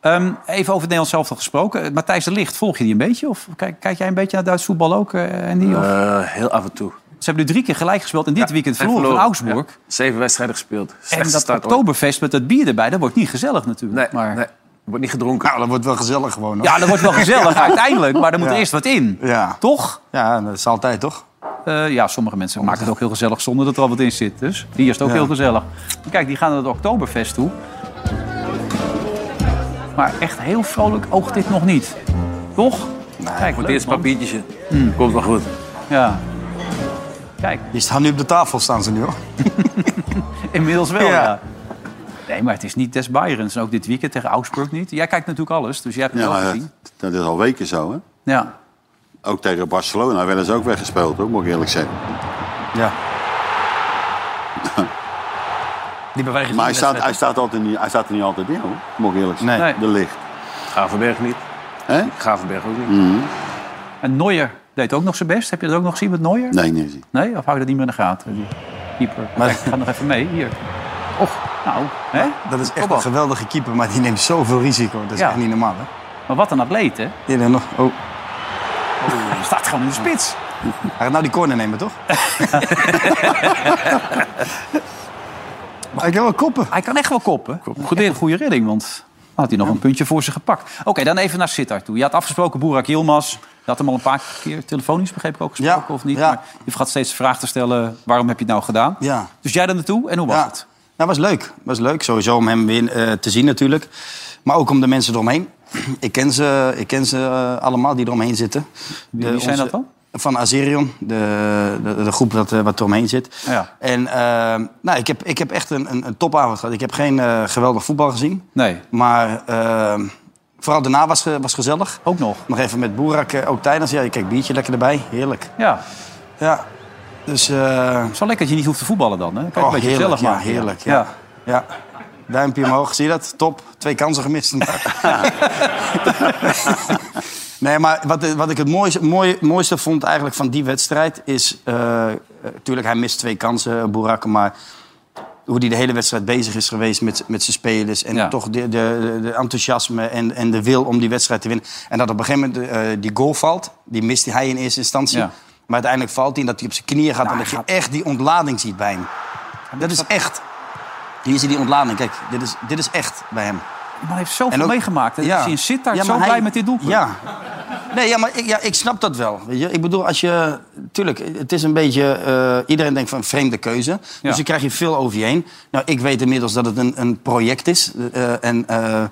B: Ehm, even over het Nederlands zelf gesproken. Eh, Matthijs de Licht, volg je die een beetje? Of kijk, kijk jij een beetje naar Duits voetbal ook, eh, Andy? Of?
F: Eh, heel af en toe.
B: Ze hebben nu drie keer gelijk gespeeld en dit weekend
F: En
B: verloren van Augsburg.
F: Ja, Zeven wedstrijden gespeeld.
B: En
F: Slechtste
B: dat
F: start ooit.
B: Oktoberfest met dat bier erbij, dat wordt niet gezellig natuurlijk. maar...
F: Wordt niet gedronken.
D: Nou, dat wordt wel gezellig gewoon. hoor.
B: Ja, dat wordt wel gezellig uiteindelijk, maar er moet
D: Ja.
B: eerst wat in.
D: Ja.
B: Toch?
D: Ja, dat is altijd, toch?
B: Eh, ja, sommige mensen maken het ook heel gezellig zonder dat er al wat in zit. Dus die is het ook
D: Ja.
B: heel gezellig. Kijk, die gaan naar het Oktoberfest toe. Maar echt heel vrolijk oogt dit nog niet. Toch? Kijk,
F: Voor
B: leuk,
F: het eerst
B: man. Hmm.
F: papiertjes. in. Komt wel goed.
B: Ja. Kijk,
D: Die staan nu op de tafel, staan ze nu, hoor.
B: inmiddels wel, ja.
D: Ja.
B: Nee, maar het is niet des Bayerns. En ook dit weekend tegen Augsburg niet. Jij kijkt natuurlijk alles, dus jij hebt het wel
C: Ja, eh,
B: gezien.
C: dat is al weken zo, hè.
B: Ja.
C: Ook tegen Barcelona werden ze ook weggespeeld, hoor, moet ik eerlijk zeggen.
D: Ja. Die beweging
C: Maar hij staat, hij staat, altijd niet, hij staat er niet altijd in, hoor. Moet ik eerlijk zeggen.
B: Nee.
C: De licht.
F: Gavenberg niet.
C: Hè?
F: Gavenberg ook niet.
C: Mhm.
B: En Neuer Deed ook nog zijn best. Heb je dat ook nog gezien met Neuer?
C: Nee, niet gezien.
B: Nee? Of hou je dat niet meer in de gaten? Die keeper. Kijk, ga nog even mee.
F: Oh,
B: Hier. Och, nou. Hè?
D: Dat is echt een geweldige keeper, maar die neemt zoveel risico. Dat is
B: Ja.
D: echt niet normaal, hè?
B: Maar wat een atleet, hè?
D: Die dan nog... Oh.
B: Hij staat gewoon in de spits.
D: Hij gaat nou die corner nemen, toch?
B: Hij kan wel koppen. Hij kan echt wel koppen. Goed een goede redding, want dan had hij nog een puntje voor ze gepakt. Oké, dan even naar Sittard toe. Je had afgesproken Boerak Yilmaz. Je had hem al een paar keer telefonisch, begreep ik ook, gesproken of niet. Maar je gaat steeds de vraag te stellen, waarom heb je het nou gedaan?
D: Ja.
B: Dus jij daar naartoe en hoe was
D: Ja.
B: het?
D: Nou, was leuk. was leuk. Sowieso om hem weer eh, te zien natuurlijk. Maar ook om de mensen eromheen. Ik ken ze, ik ken ze eh, allemaal die eromheen zitten.
B: Wie-
D: De-
B: wie zijn dat dan?
D: Van Azerion, de, de, de groep dat, eh, wat eromheen zit.
B: Ja.
D: En eh, nou, ik, heb, ik heb echt een, een, een topavond gehad. Ik heb geen eh, geweldig voetbal gezien.
B: Nee.
D: Maar eh, vooral daarna was, ge- was gezellig.
B: Ook nog.
D: Nog even met Boerak, eh, ook tijdens. Ja, kijk, biertje lekker erbij. Heerlijk.
B: Ja.
D: Ja. Dus... eh,
B: Zo lekker dat je niet hoeft te voetballen dan, hè? Kan je het
D: Oh,
B: een beetje
D: heerlijk,
B: gezellig
D: ja,
B: maken.
D: heerlijk. Ja. Ja. Duimpje omhoog, zie je dat? Top. Twee kansen gemist. nee, maar wat, wat ik het mooiste, mooi, mooiste vond eigenlijk van die wedstrijd is... Natuurlijk, hij mist twee kansen, Boerak, maar... Hoe hij de hele wedstrijd bezig is geweest met, met zijn spelers. En
B: Ja.
D: toch de, de, de enthousiasme en, en de wil om die wedstrijd te winnen. En dat op een gegeven moment eh, die goal valt. Die mist hij in eerste instantie.
B: Ja.
D: Maar uiteindelijk valt hij en dat hij op zijn knieën gaat.
B: Nou,
D: en dat je
B: hij
D: echt die ontlading ziet bij hem. Dat is echt. Hier zie je die ontlading. Kijk, dit is, dit is echt bij hem.
B: Maar hij heeft zoveel meegemaakt. Hij is in Sittard
D: Ja,
B: zo
D: maar hij-
B: blij met dit doelpunt.
D: Ja. Nee, ja, maar ik, ja, ik snap dat wel. Weet je? Ik bedoel, als je... Tuurlijk, het is een beetje... eh, iedereen denkt van vreemde keuze.
B: Ja.
D: Dus dan krijg je veel over je heen. Nou, ik weet inmiddels dat het een, een project is. eh, en... eh,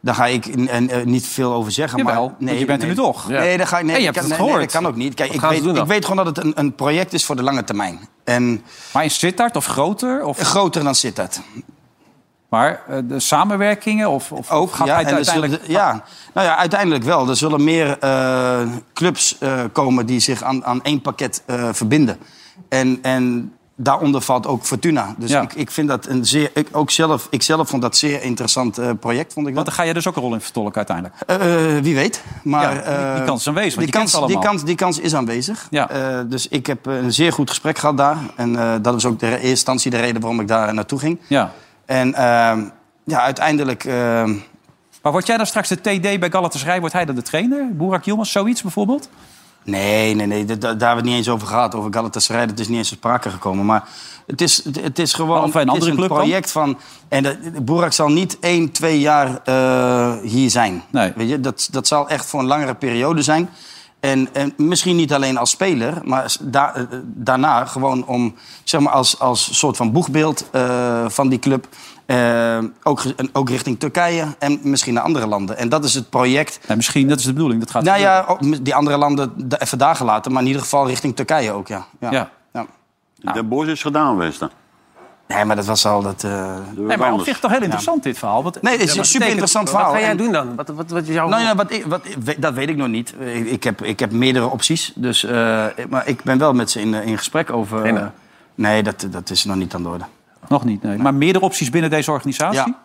D: daar ga ik n- en, eh, niet veel over zeggen.
B: Jawel,
D: maar,
B: want je bent er
D: nee.
B: nu toch? Ja.
D: Nee, daar ga ik, nee,
B: En je
D: ik
B: hebt
D: kan,
B: het
D: nee, nee,
B: gehoord.
D: dat kan ook niet. Kijk,
B: Wat
D: ik
B: gaan ze
D: weet,
B: doen dan?
D: ik weet gewoon dat het een, een project is voor de lange termijn. En,
B: maar in Sittard of groter? Of...
D: Groter dan Sittard.
B: Maar eh, de samenwerkingen of, of
D: Ook,
B: gaat
D: ja,
B: hij
D: en dus er
B: uiteindelijk...
D: zullen- ja. Nou ja, uiteindelijk wel. Er zullen meer eh, clubs eh, komen die zich aan, aan één pakket eh, verbinden. En, en daaronder valt ook Fortuna. Dus
B: Ja.
D: ik, ik vind dat een zeer... Ik, ook zelf, ik zelf vond dat zeer interessant eh, project, vond ik dat.
B: Want daar ga je dus ook een rol in vertolken uiteindelijk.
D: Eh, eh, wie weet. Maar,
B: Ja, die- die
D: eh,
B: kans is aanwezig, want
D: die,
B: je kent
D: kans,
B: ze allemaal.
D: die, kans, die kans is aanwezig.
B: Ja.
D: Eh, dus ik heb eh, een zeer goed gesprek gehad daar. En eh, dat was ook de re- eerste instantie de reden waarom ik daar naartoe ging.
B: Ja.
D: En eh, ja, uiteindelijk... eh,
B: Maar word jij dan straks de TD bij Galatasaray? Wordt hij dan de trainer? Boerak Yilmaz, zoiets bijvoorbeeld?
D: Nee, nee, nee. da- da- daar hebben we het niet eens over gehad. Over Galatasaray, dat is niet eens ter sprake gekomen. Maar het is, het, het is gewoon
B: Of bij een
D: het is
B: andere club dan?
D: project van... En dat- Boerak zal niet één, twee jaar eh, hier zijn. Weet je, dat, dat zal echt voor een langere periode zijn. En, en misschien niet alleen als speler, maar s- da- eh, daarna gewoon om... Zeg maar als, als soort van boegbeeld eh, van die club... Eh, ook, ge- en ook richting Turkije en misschien naar andere landen. En dat is het project
B: Nee, misschien, dat is de bedoeling. Dat gaat
D: nou ja, ook met die andere landen da- even dagen later. Maar in ieder geval richting Turkije ook, ja. ja.
B: Ja. Ah.
C: Den Bosch is gedaan geweest dan.
D: Nee, maar dat was al dat... eh,
B: Nee, maar op zich toch heel interessant dit verhaal. Want
D: Nee, het is
B: Ja,
D: een
B: maar
D: super interessant verhaal.
F: Wat ga jij
D: En-
F: doen dan? Wat, wat, wat is jouw...
D: Nou ja, wat ik, wat, ik weet- dat weet ik nog niet. Ik, ik, heb, ik heb meerdere opties. Dus, eh, maar ik ben wel met ze in, eh, in gesprek over...
B: Nee,
D: eh, Nee,
B: nee.
D: dat, dat is nog niet aan de orde.
B: Nog niet, nee. Maar meerdere opties binnen deze organisatie?
D: Ja.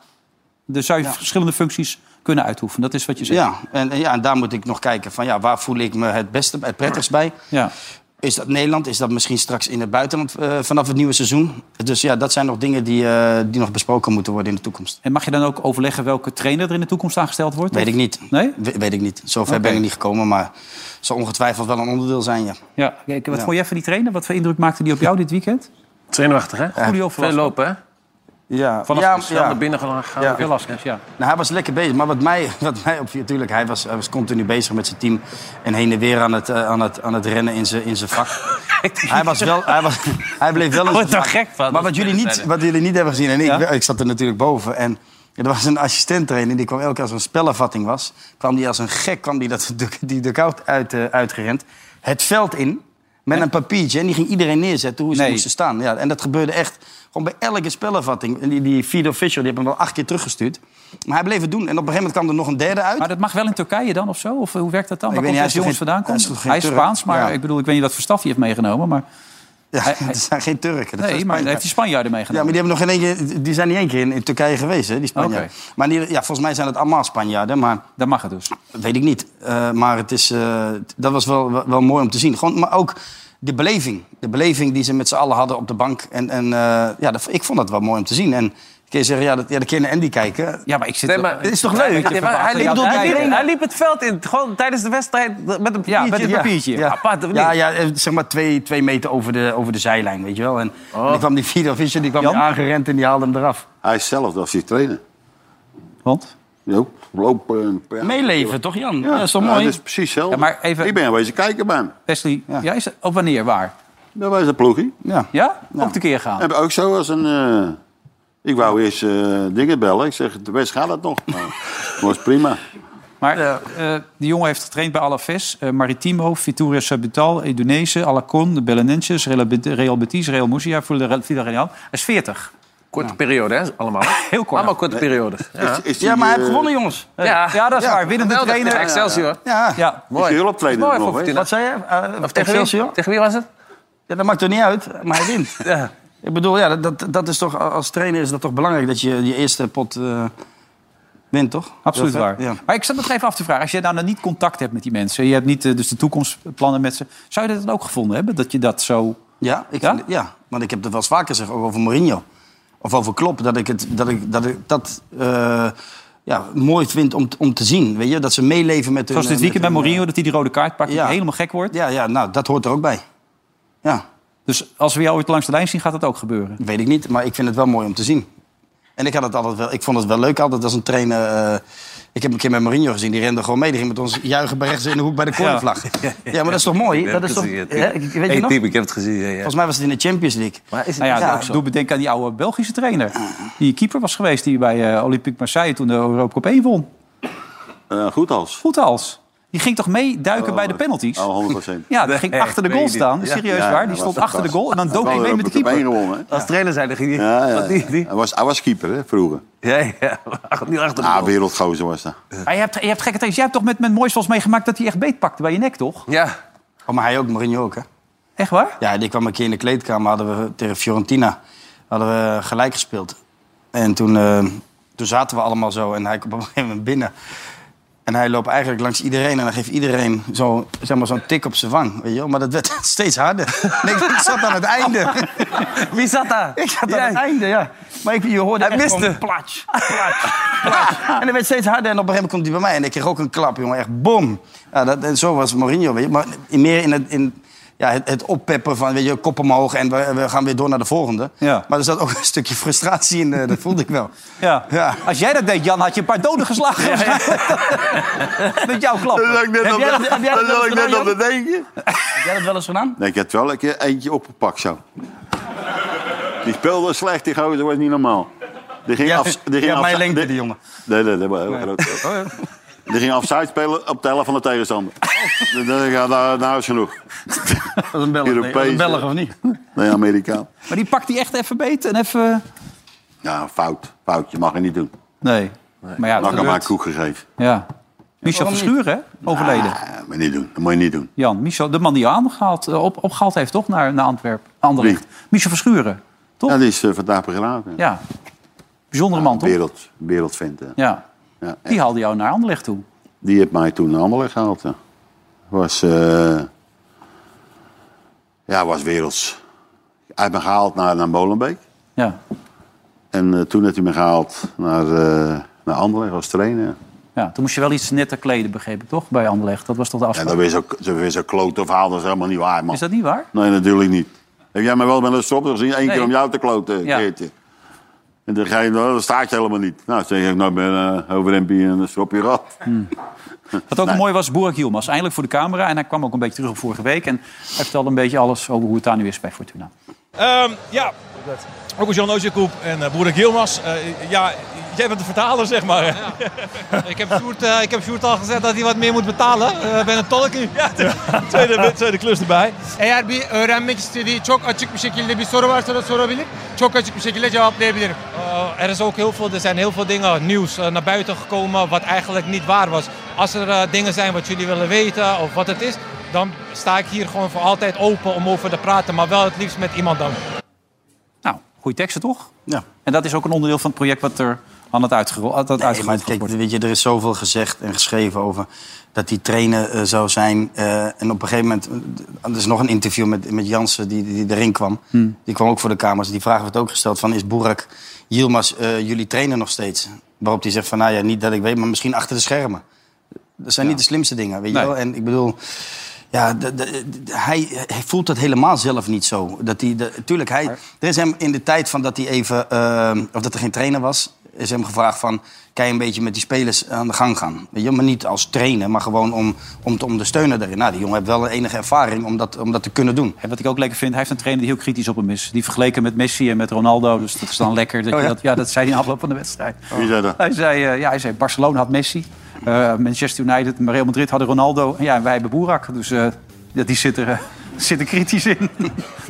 B: Dus zou je verschillende functies kunnen uitoefenen? Dat is wat je zegt.
D: Ja, en, en ja, en daar moet ik nog kijken van... Ja, waar voel ik me het beste, het prettigst bij?
B: Ja.
D: Is dat Nederland? Is dat misschien straks in het buitenland eh, vanaf het nieuwe seizoen? Dus ja, dat zijn nog dingen die, eh, die nog besproken moeten worden in de toekomst.
B: En mag je dan ook overleggen welke trainer er in de toekomst aangesteld wordt?
D: Weet
B: Of-
D: ik niet.
B: Nee?
D: We- weet ik niet. Zover
B: Oké.
D: ben ik niet gekomen, maar zal ongetwijfeld wel een onderdeel zijn, ja.
B: Ja. Kijk, wat
D: Ja.
B: vond jij van die trainer? Wat voor indruk maakte die op jou dit weekend?
F: Zenuwachtig, hè?
B: Jullie
F: Veel lopen, hè?
D: Ja,
F: Vanaf
D: ja,
F: snel naar binnen gaan.
D: Ja.
B: Heel lastig, ja.
D: Nou, hij was lekker bezig, maar wat mij, wat mij opviel, natuurlijk, hij was, hij was continu bezig met zijn team en heen en weer aan het, eh, aan het, aan het rennen in zijn, in zijn vak. hij, was wel, hij, was, hij bleef wel
F: Ik
D: een
F: word er nou gek van,
D: Maar
F: dat
D: wat jullie,
F: mensen
D: niet,
F: zeiden.
D: wat jullie niet hebben gezien, en ik, ik zat er natuurlijk boven. En er was een assistent trainer, die kwam elke keer als er een spellenvatting was. Kwam die als een gek, kwam die, dat, de- die de koud uit, eh, uitgerend. Het veld in, met een papiertje. En die ging iedereen neerzetten hoe ze
B: Nee.
D: moesten staan. Ja, en dat gebeurde echt gewoon bij elke spellenvatting. En die, die Fido Fischer, die hebben hem wel acht keer teruggestuurd. Maar hij bleef het doen. En op een gegeven moment kwam er nog een derde uit.
B: Maar dat mag wel in Turkije dan of zo? Of eh, hoe werkt dat dan?
D: Ik
B: Waar
D: weet
B: komt
D: niet,
B: deze
D: hij
B: jongens
D: is
B: vandaan
D: toch geen- hij is
B: komt?
D: toch
B: Hij,
D: geen
B: is
D: Turk?
B: Spaans, maar
D: Ja.
B: ik bedoel, ik weet niet wat voor staf hij heeft meegenomen. Maar
D: het zijn geen Turken. dat
B: Nee,
D: zijn
B: maar heeft die Spanjaarden
D: Ja,
B: meegenomen.
D: maar die, hebben nog geen eentje, die zijn niet één keer in, in Turkije geweest, hè, die Spanjaarden.
B: Oké.
D: Maar die, ja, volgens mij zijn het allemaal Spanjaarden. Maar,
B: dat mag het dus.
D: Weet ik niet. Eh, maar het is, eh, dat was wel, wel, wel mooi om te zien. Gewoon, maar ook de beleving. De beleving die ze met z'n allen hadden op de bank. En, en eh, ja, dat, ik vond dat wel mooi om te zien. En kun je zeggen, ja, dat, ja, de kinderen en die kijken.
B: Ja, maar ik zit...
D: het is toch leuk?
F: Ja, maar hij, liep, hij, liep, hij liep het veld in, gewoon tijdens de wedstrijd met een papiertje.
D: met een papiertje. Ja,
F: Apart, of niet?
D: ja, ja, eh, zeg maar twee, twee meter over de, over de zijlijn, weet je wel. En, en die kwam die Vito Visser, die kwam aangerend en die haalde hem eraf.
C: Hij is zelf als hij trainen.
B: Want?
C: Jo, lopen. en praten.
D: Meeleven, toch Jan?
C: Ja,
D: dat is toch
C: ja,
D: mooi?
C: dat is precies hetzelfde.
B: Ja, maar even-
C: Ik ben aanwezig kijken bij hem.
B: Wesley, jij is op wanneer, waar?
C: Dat was een ploegie.
D: Ja.
B: Ja? Ook tekeer gaan.
C: Heb ik ook zo als een... eh, ik wou eerst eh, dingen bellen. Ik zeg, de best gaat het nog. Maar was prima.
B: Maar eh, die jongen heeft getraind bij Alaves, eh, Maritimo, Vitória Sabital, Udinese, Alacon, Belenenses, Real Bet- Real Betis, Real Murcia, Villarreal. Hij is 40.
F: Korte periode, hè, allemaal.
B: Heel kort.
F: Allemaal korte periode. Ja.
D: Ja, maar hij
C: eh,
D: heeft gewonnen, jongens.
F: Ja.
B: Ja, dat is
F: Ja,
B: waar. Winnende
F: geweldig.
B: trainer.
F: Excelsior.
D: Ja.
B: Ja.
C: Mooi. Is die hulptrainer
F: Mooi
C: er nog,
F: voor
C: hè?
F: Fortuna.
D: Wat zei je? Eh,
F: Of Ah, tegen wie?
D: Excelsior?
F: Tegen wie was het?
D: Ja, dat maakt toch niet uit, maar hij wint. Ik bedoel, ja, dat- dat, dat is toch, als trainer is dat toch belangrijk dat je je eerste pot eh, wint, toch?
B: Absoluut
D: Dat-
B: waar.
D: Ja.
B: Maar ik zat me nog even af te vragen. Als je nou dan niet contact hebt met die mensen... je hebt niet eh, dus de toekomstplannen met ze... zou je dat dan ook gevonden hebben? Dat je dat zo...
D: Ja, ik, ja? want ik heb het wel eens vaker gezegd, ook over Mourinho. Of over Klopp, dat ik, het, dat, ik, dat, ik dat eh, ja, mooi vind om, om te zien. Weet je? Dat ze meeleven met hun... eh,
B: Zoals dit
D: met
B: weekend bij
D: hun,
B: Mourinho, dat hij die rode kaart pakt... en
D: Ja.
B: helemaal gek wordt.
D: Ja, ja, nou, dat hoort er ook bij. Ja.
B: Dus als we jou ooit langs de lijn zien, gaat dat ook gebeuren?
D: Weet ik niet, maar ik vind het wel mooi om te zien. En ik, had het altijd wel, ik vond het wel leuk altijd als een trainer... eh, ik heb een keer met Mourinho gezien, die rende gewoon mee. Die ging met ons juichen bij rechts in de hoek bij de cornervlag. Ja, maar dat is toch mooi? Dat is toch, hè, ik- weet je nog?
F: ik heb het gezien. Ja, ja.
D: Volgens mij was het in de Champions League.
B: Nou ja,
D: Ja,
B: dat doe bedenken aan die oude Belgische trainer. Die keeper was geweest die bij eh, Olympique Marseille toen de Europa Cup 1 won.
C: Eh, goed als.
B: Goed als. Die ging toch meeduiken bij de penalties?
C: Oh, 100
B: Ja, die ging achter de goal staan. Serieus waar.
C: Ja, dat
B: Die
C: was
B: stond
C: dat
B: achter de
C: was.
B: goal en dan dook
C: Hij
B: hij
C: had
B: mee
C: wel
B: met de
C: Europa
B: keeper.
C: Cup één gewonnen, hè?
F: Als trainer zijn, dan ging hij...
C: Ja, ja.
F: want Die, die,
C: Hij, was, hij was keeper, hè, vroeger.
F: ja, ja. Niet achter de
C: Ah,
F: goal.
C: wereldgozer was dat.
B: Maar je hebt, je hebt gekke trainers. Jij hebt toch met, met Moois volgens meegemaakt dat hij echt beet pakte bij je nek, toch?
F: Ja.
D: Oh, maar hij ook, Mourinho ook, hè?
B: Echt waar?
D: Ja, die kwam een keer in de kleedkamer. Hadden we tegen Fiorentina hadden we gelijk gespeeld. En toen, eh, toen zaten we allemaal zo. En hij komt op een gegeven moment binnen. En hij loopt eigenlijk langs iedereen. En dan geeft iedereen zo, zeg maar, zo'n tik op zijn wang. Weet je wel? Maar dat werd steeds harder. En ik, ik zat aan het einde.
F: Wie zat daar?
D: Ik zat aan
F: Jij.
D: het einde, ja. Maar ik, je hoorde
F: Hij
D: echt
F: miste.
D: gewoon platsch, platsch, platsch. En dat werd steeds harder. En op een gegeven moment komt hij bij mij. En ik kreeg ook een klap, jongen. Echt bom. Ja, dat, en zo was Mourinho, weet je. Maar in, meer in het... In, ja, het, het oppeppen van, weet je, kop omhoog en we, we gaan weer door naar de volgende.
B: Ja.
D: Maar er zat ook een stukje frustratie in, eh, dat voelde ik wel.
B: Ja.
D: Ja.
B: Als jij dat deed, Jan, had je een paar doden geslagen. met jouw klappen.
C: Dat ik net
D: Heb jij dat- heb jij dat wel eens gedaan, Jan?
C: de denken.
D: Heb jij dat wel eens gedaan?
C: Nee, ik heb wel een keer eentje opgepakt zo. Die speelde slecht, die gozer, dat was niet normaal. Die ging
D: Ja,
C: af, die ging
D: ja,
C: af,
D: mijn lengte, die jongen. Oh,
C: Nee, nee, dat was heel groot. Die ging afzijds spelen op de helft van de tegenstander. Dan denk ik, ja, nou, nou is genoeg.
D: Oh. Dat is een Belg, nee. Dat is een
C: Europees. eh,
D: Belg of niet?
C: Nee, Amerikaan.
B: Maar die pakt hij echt even beet en even...
C: Ja, fout. Fout, je mag het niet doen.
B: Nee. Maar ja,
C: Dan
B: dat
C: kan maar
B: gebeurt.
C: koek gegeven.
B: Ja. Michel
D: waarom
B: Verschuur, hè? Overleden.
C: Ah, moet je niet doen. Dat moet je niet doen.
B: Jan, Michel, de man die je aangehaald, eh, op, opgehaald heeft, toch? Naar, naar Antwerpen. Anderlecht. Michel Verschuren. Toch?
C: Ja, die is eh, vandaag begraven.
B: Ja. Bijzondere man, toch?
C: Wereld, wereldvent. hè.
B: Ja.
C: Ja,
B: Die haalde jou naar Anderlecht toe.
C: Die heeft mij toen naar Anderlecht gehaald. ja. Was, eh, ja, was werelds. Hij heeft me gehaald naar, naar Molenbeek.
B: Ja.
C: En eh, toen heeft hij me gehaald naar, eh naar Anderlecht als trainer.
B: ja. Toen moest je wel iets netter kleden, begreep ik, toch? Bij Anderlecht. Dat was toch de
C: En
B: afspraak?
C: dat is ook zo- weer zo'n klote verhaal, dat is helemaal niet waar, man.
B: Is dat niet waar?
C: Nee, natuurlijk niet. Heb jij mij wel met een stropdas gezien? Eén
B: Nee.
C: keer om jou te kloten,
B: Ja.
C: keertje. En dan ga je, nou, dat staat je helemaal niet. Nou, zeg ik, nou ben eh overhempie en een stropje gehad.
B: Wat ook mooi was, Boerak Yilmaz. Eindelijk voor de camera. En hij kwam ook een beetje terug op vorige week. En hij vertelde een beetje alles over hoe het daar nu is bij Fortuna.
T: Ehm, ja, ook Jan Ozerkoep en eh Boerik Yilmaz. Eh, ja, jij bent de vertaler, zeg maar.
U: Ik heb, Sjoerd, eh, ik heb Sjoerd al gezegd dat hij wat meer moet betalen. Eh, Ik ben een tolk nu.
T: tweede, tweede klus erbij.
U: Eğer bir öğrenmek istediği çok açık bir şekilde bir soru varsa da sorabilir. Çok açık bir şekilde cevaplayabilirim.
T: er, is ook heel veel, er zijn heel veel dingen, nieuws, eh, naar buiten gekomen wat eigenlijk niet waar was. Als er eh, dingen zijn wat jullie willen weten of wat het is, dan sta ik hier gewoon voor altijd open om over te praten. Maar wel het liefst met iemand dan.
B: Nou, Goeie teksten, toch?
D: Ja.
B: En dat is ook een onderdeel van het project wat er aan het uitgerold aan het
D: Nee, maar
B: uitgerold
D: kijk, weet je, er is zoveel gezegd en geschreven over dat die trainer eh, zou zijn. eh, en op een gegeven moment, eh, er is nog een interview met, met Jansen die, die erin kwam.
B: Hmm.
D: Die kwam ook voor de kamers. Die vraag werd ook gesteld van, is Boerak Yilmaz eh, jullie trainer nog steeds? Waarop hij zegt van, nou ja, niet dat ik weet, maar misschien achter de schermen. Dat zijn niet de slimste dingen, weet
B: Nee.
D: je wel? En ik bedoel... Ja, de- de- de- hij, hij voelt dat helemaal zelf niet zo. Dat hij, de, tuurlijk, hij, er is hem in de tijd van dat hij even, eh, of dat er geen trainer was, is hem gevraagd van, kan je een beetje met die spelers aan de gang gaan? Weet je, maar niet als trainer, maar gewoon om, om te ondersteunen daarin. Nou, die jongen heeft wel een enige ervaring om dat, om dat te kunnen doen.
B: En wat ik ook lekker vind, hij heeft een trainer die heel kritisch op hem is. Die vergeleken met Messi en met Ronaldo. Dus dat is dan lekker. Dat
D: Oh
B: je
D: ja?
B: dat, ja, dat zei hij in afloop van de wedstrijd.
C: Wie zei dat?
B: Hij zei, eh, ja, hij zei Barcelona had Messi. eh, Manchester United en Real Madrid hadden Ronaldo. En ja, en wij hebben Boerak. Dus eh, ja, die zit er, eh, zit er kritisch in.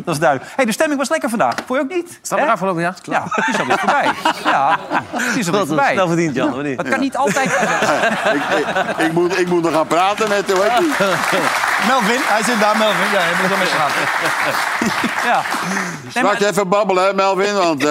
B: dat is duidelijk. hey, de stemming was lekker vandaag. Vond je ook niet? Staat er afgelopen jaar? Ja, het is alweer voorbij. Ja, het is alweer voorbij.
A: Snel verdiend, Jan. of niet?
B: Dat kan niet altijd...
C: ik, ik, ik moet, ik moet nog gaan praten met hoe heet die?
D: Melvin, hij zit daar, Melvin. Ja, hij moet nog met
B: Ja. Nee, maar-
C: Straks even babbelen, hè, Melvin, want eh,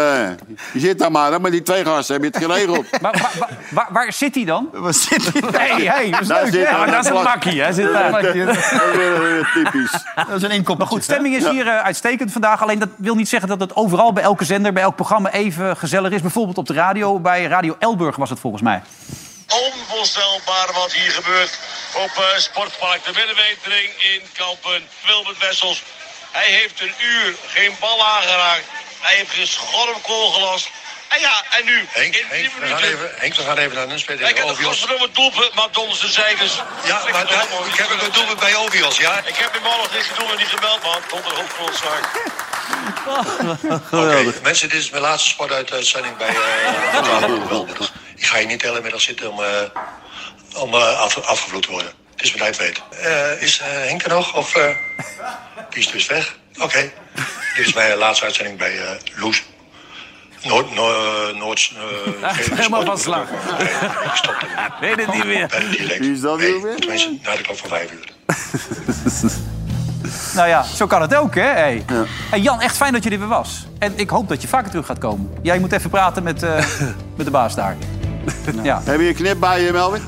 C: je zit daar maar. hè, Met die twee gasten heb je het geregeld.
B: Maar, maar- maar- waar, waar zit hij dan?
D: Waar zit hij?
B: Hey, hey, dat is
C: Daar
B: leuk,
C: zit
B: hè?
C: hij,
B: Maar dat is een
C: plak-
B: makkie. Hij zit
C: Dat is
B: daar.
C: weer- weer typisch.
D: Dat is een inkoop.
B: Maar goed, stemming is
C: Ja.
B: hier eh, uitstekend vandaag. Alleen dat wil niet zeggen dat het overal bij elke zender, bij elk programma even gezellig is. Bijvoorbeeld op de radio, bij Radio Elburg was het volgens mij.
V: onvoorstelbaar wat hier gebeurt op eh, Sportpark de Binnenwetering in Kampen. Wilbert Wessels, hij heeft een uur geen bal aangeraakt. Hij heeft geen schormkool gelast. En ja, en nu, in 10
W: We gaan
V: minuten...
W: even, Henk, we gaan even naar Nunspeed
V: Hij
W: tegen
V: kent het
W: Ovios.
V: kosten om het doelpunt, maar donders de zeikers.
W: Ja, maar daar- ik heb ook een doelpunt bij Ovios, ja.
V: Ik heb hem al nog dit doelpunt niet gemeld, man. Tot een hoofdgrondzaak.
W: Oké, mensen, dit is mijn laatste sportuitzending bij eh, Vlaanderen Wilbert. Ik ga hier niet de hele middag zitten om, eh, om eh, af, afgevloed te worden. Het is mijn tijd Eh Is eh, Henk er nog? Of eh die is dus weg? Oké. Dit is mijn laatste uitzending bij eh, Loes. Noord, Noord, Noord, eh,
F: Helemaal van slag. Weet het niet meer.
W: Wie is dat weer? Tenminste, na de klok van vijf uur.
B: Nou ja, zo kan het ook, hè? Hey. Hey, Jan, echt fijn dat je er weer was. En ik hoop dat je vaker terug gaat komen. Jij moet even praten met, eh, met de baas daar. Ja.
C: Heb je een knip bij je, Melvin?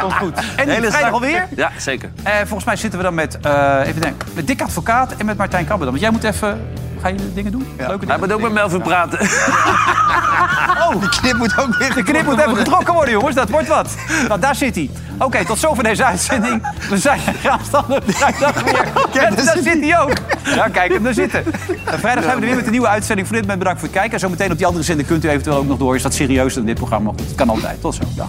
B: Komt goed. En die vrijdag alweer?
F: Ja, zeker.
B: Eh, volgens mij zitten we dan met, eh, even denken, met Dick Advocaat en met Martijn Kabberdam. Want jij moet even... Ga je dingen doen? Leuke dingen?
F: Hij moet ook met Melvin praten.
B: Oh, de knip moet ook weer De knip moet even getrokken worden, jongens. Dat wordt wat. Nou, daar zit hij. Oké, tot zover deze uitzending. We zijn graag op vrijdag weer. En daar zit hij ook. Ja, kijk hem daar zitten. En vrijdag zijn we er weer met een nieuwe uitzending. Voor dit moment bedankt voor het kijken. En zometeen op die andere zender kunt u eventueel ook nog door. Is dat serieuzer dan dit programma? Goed, het kan altijd. Tot zo. Dag.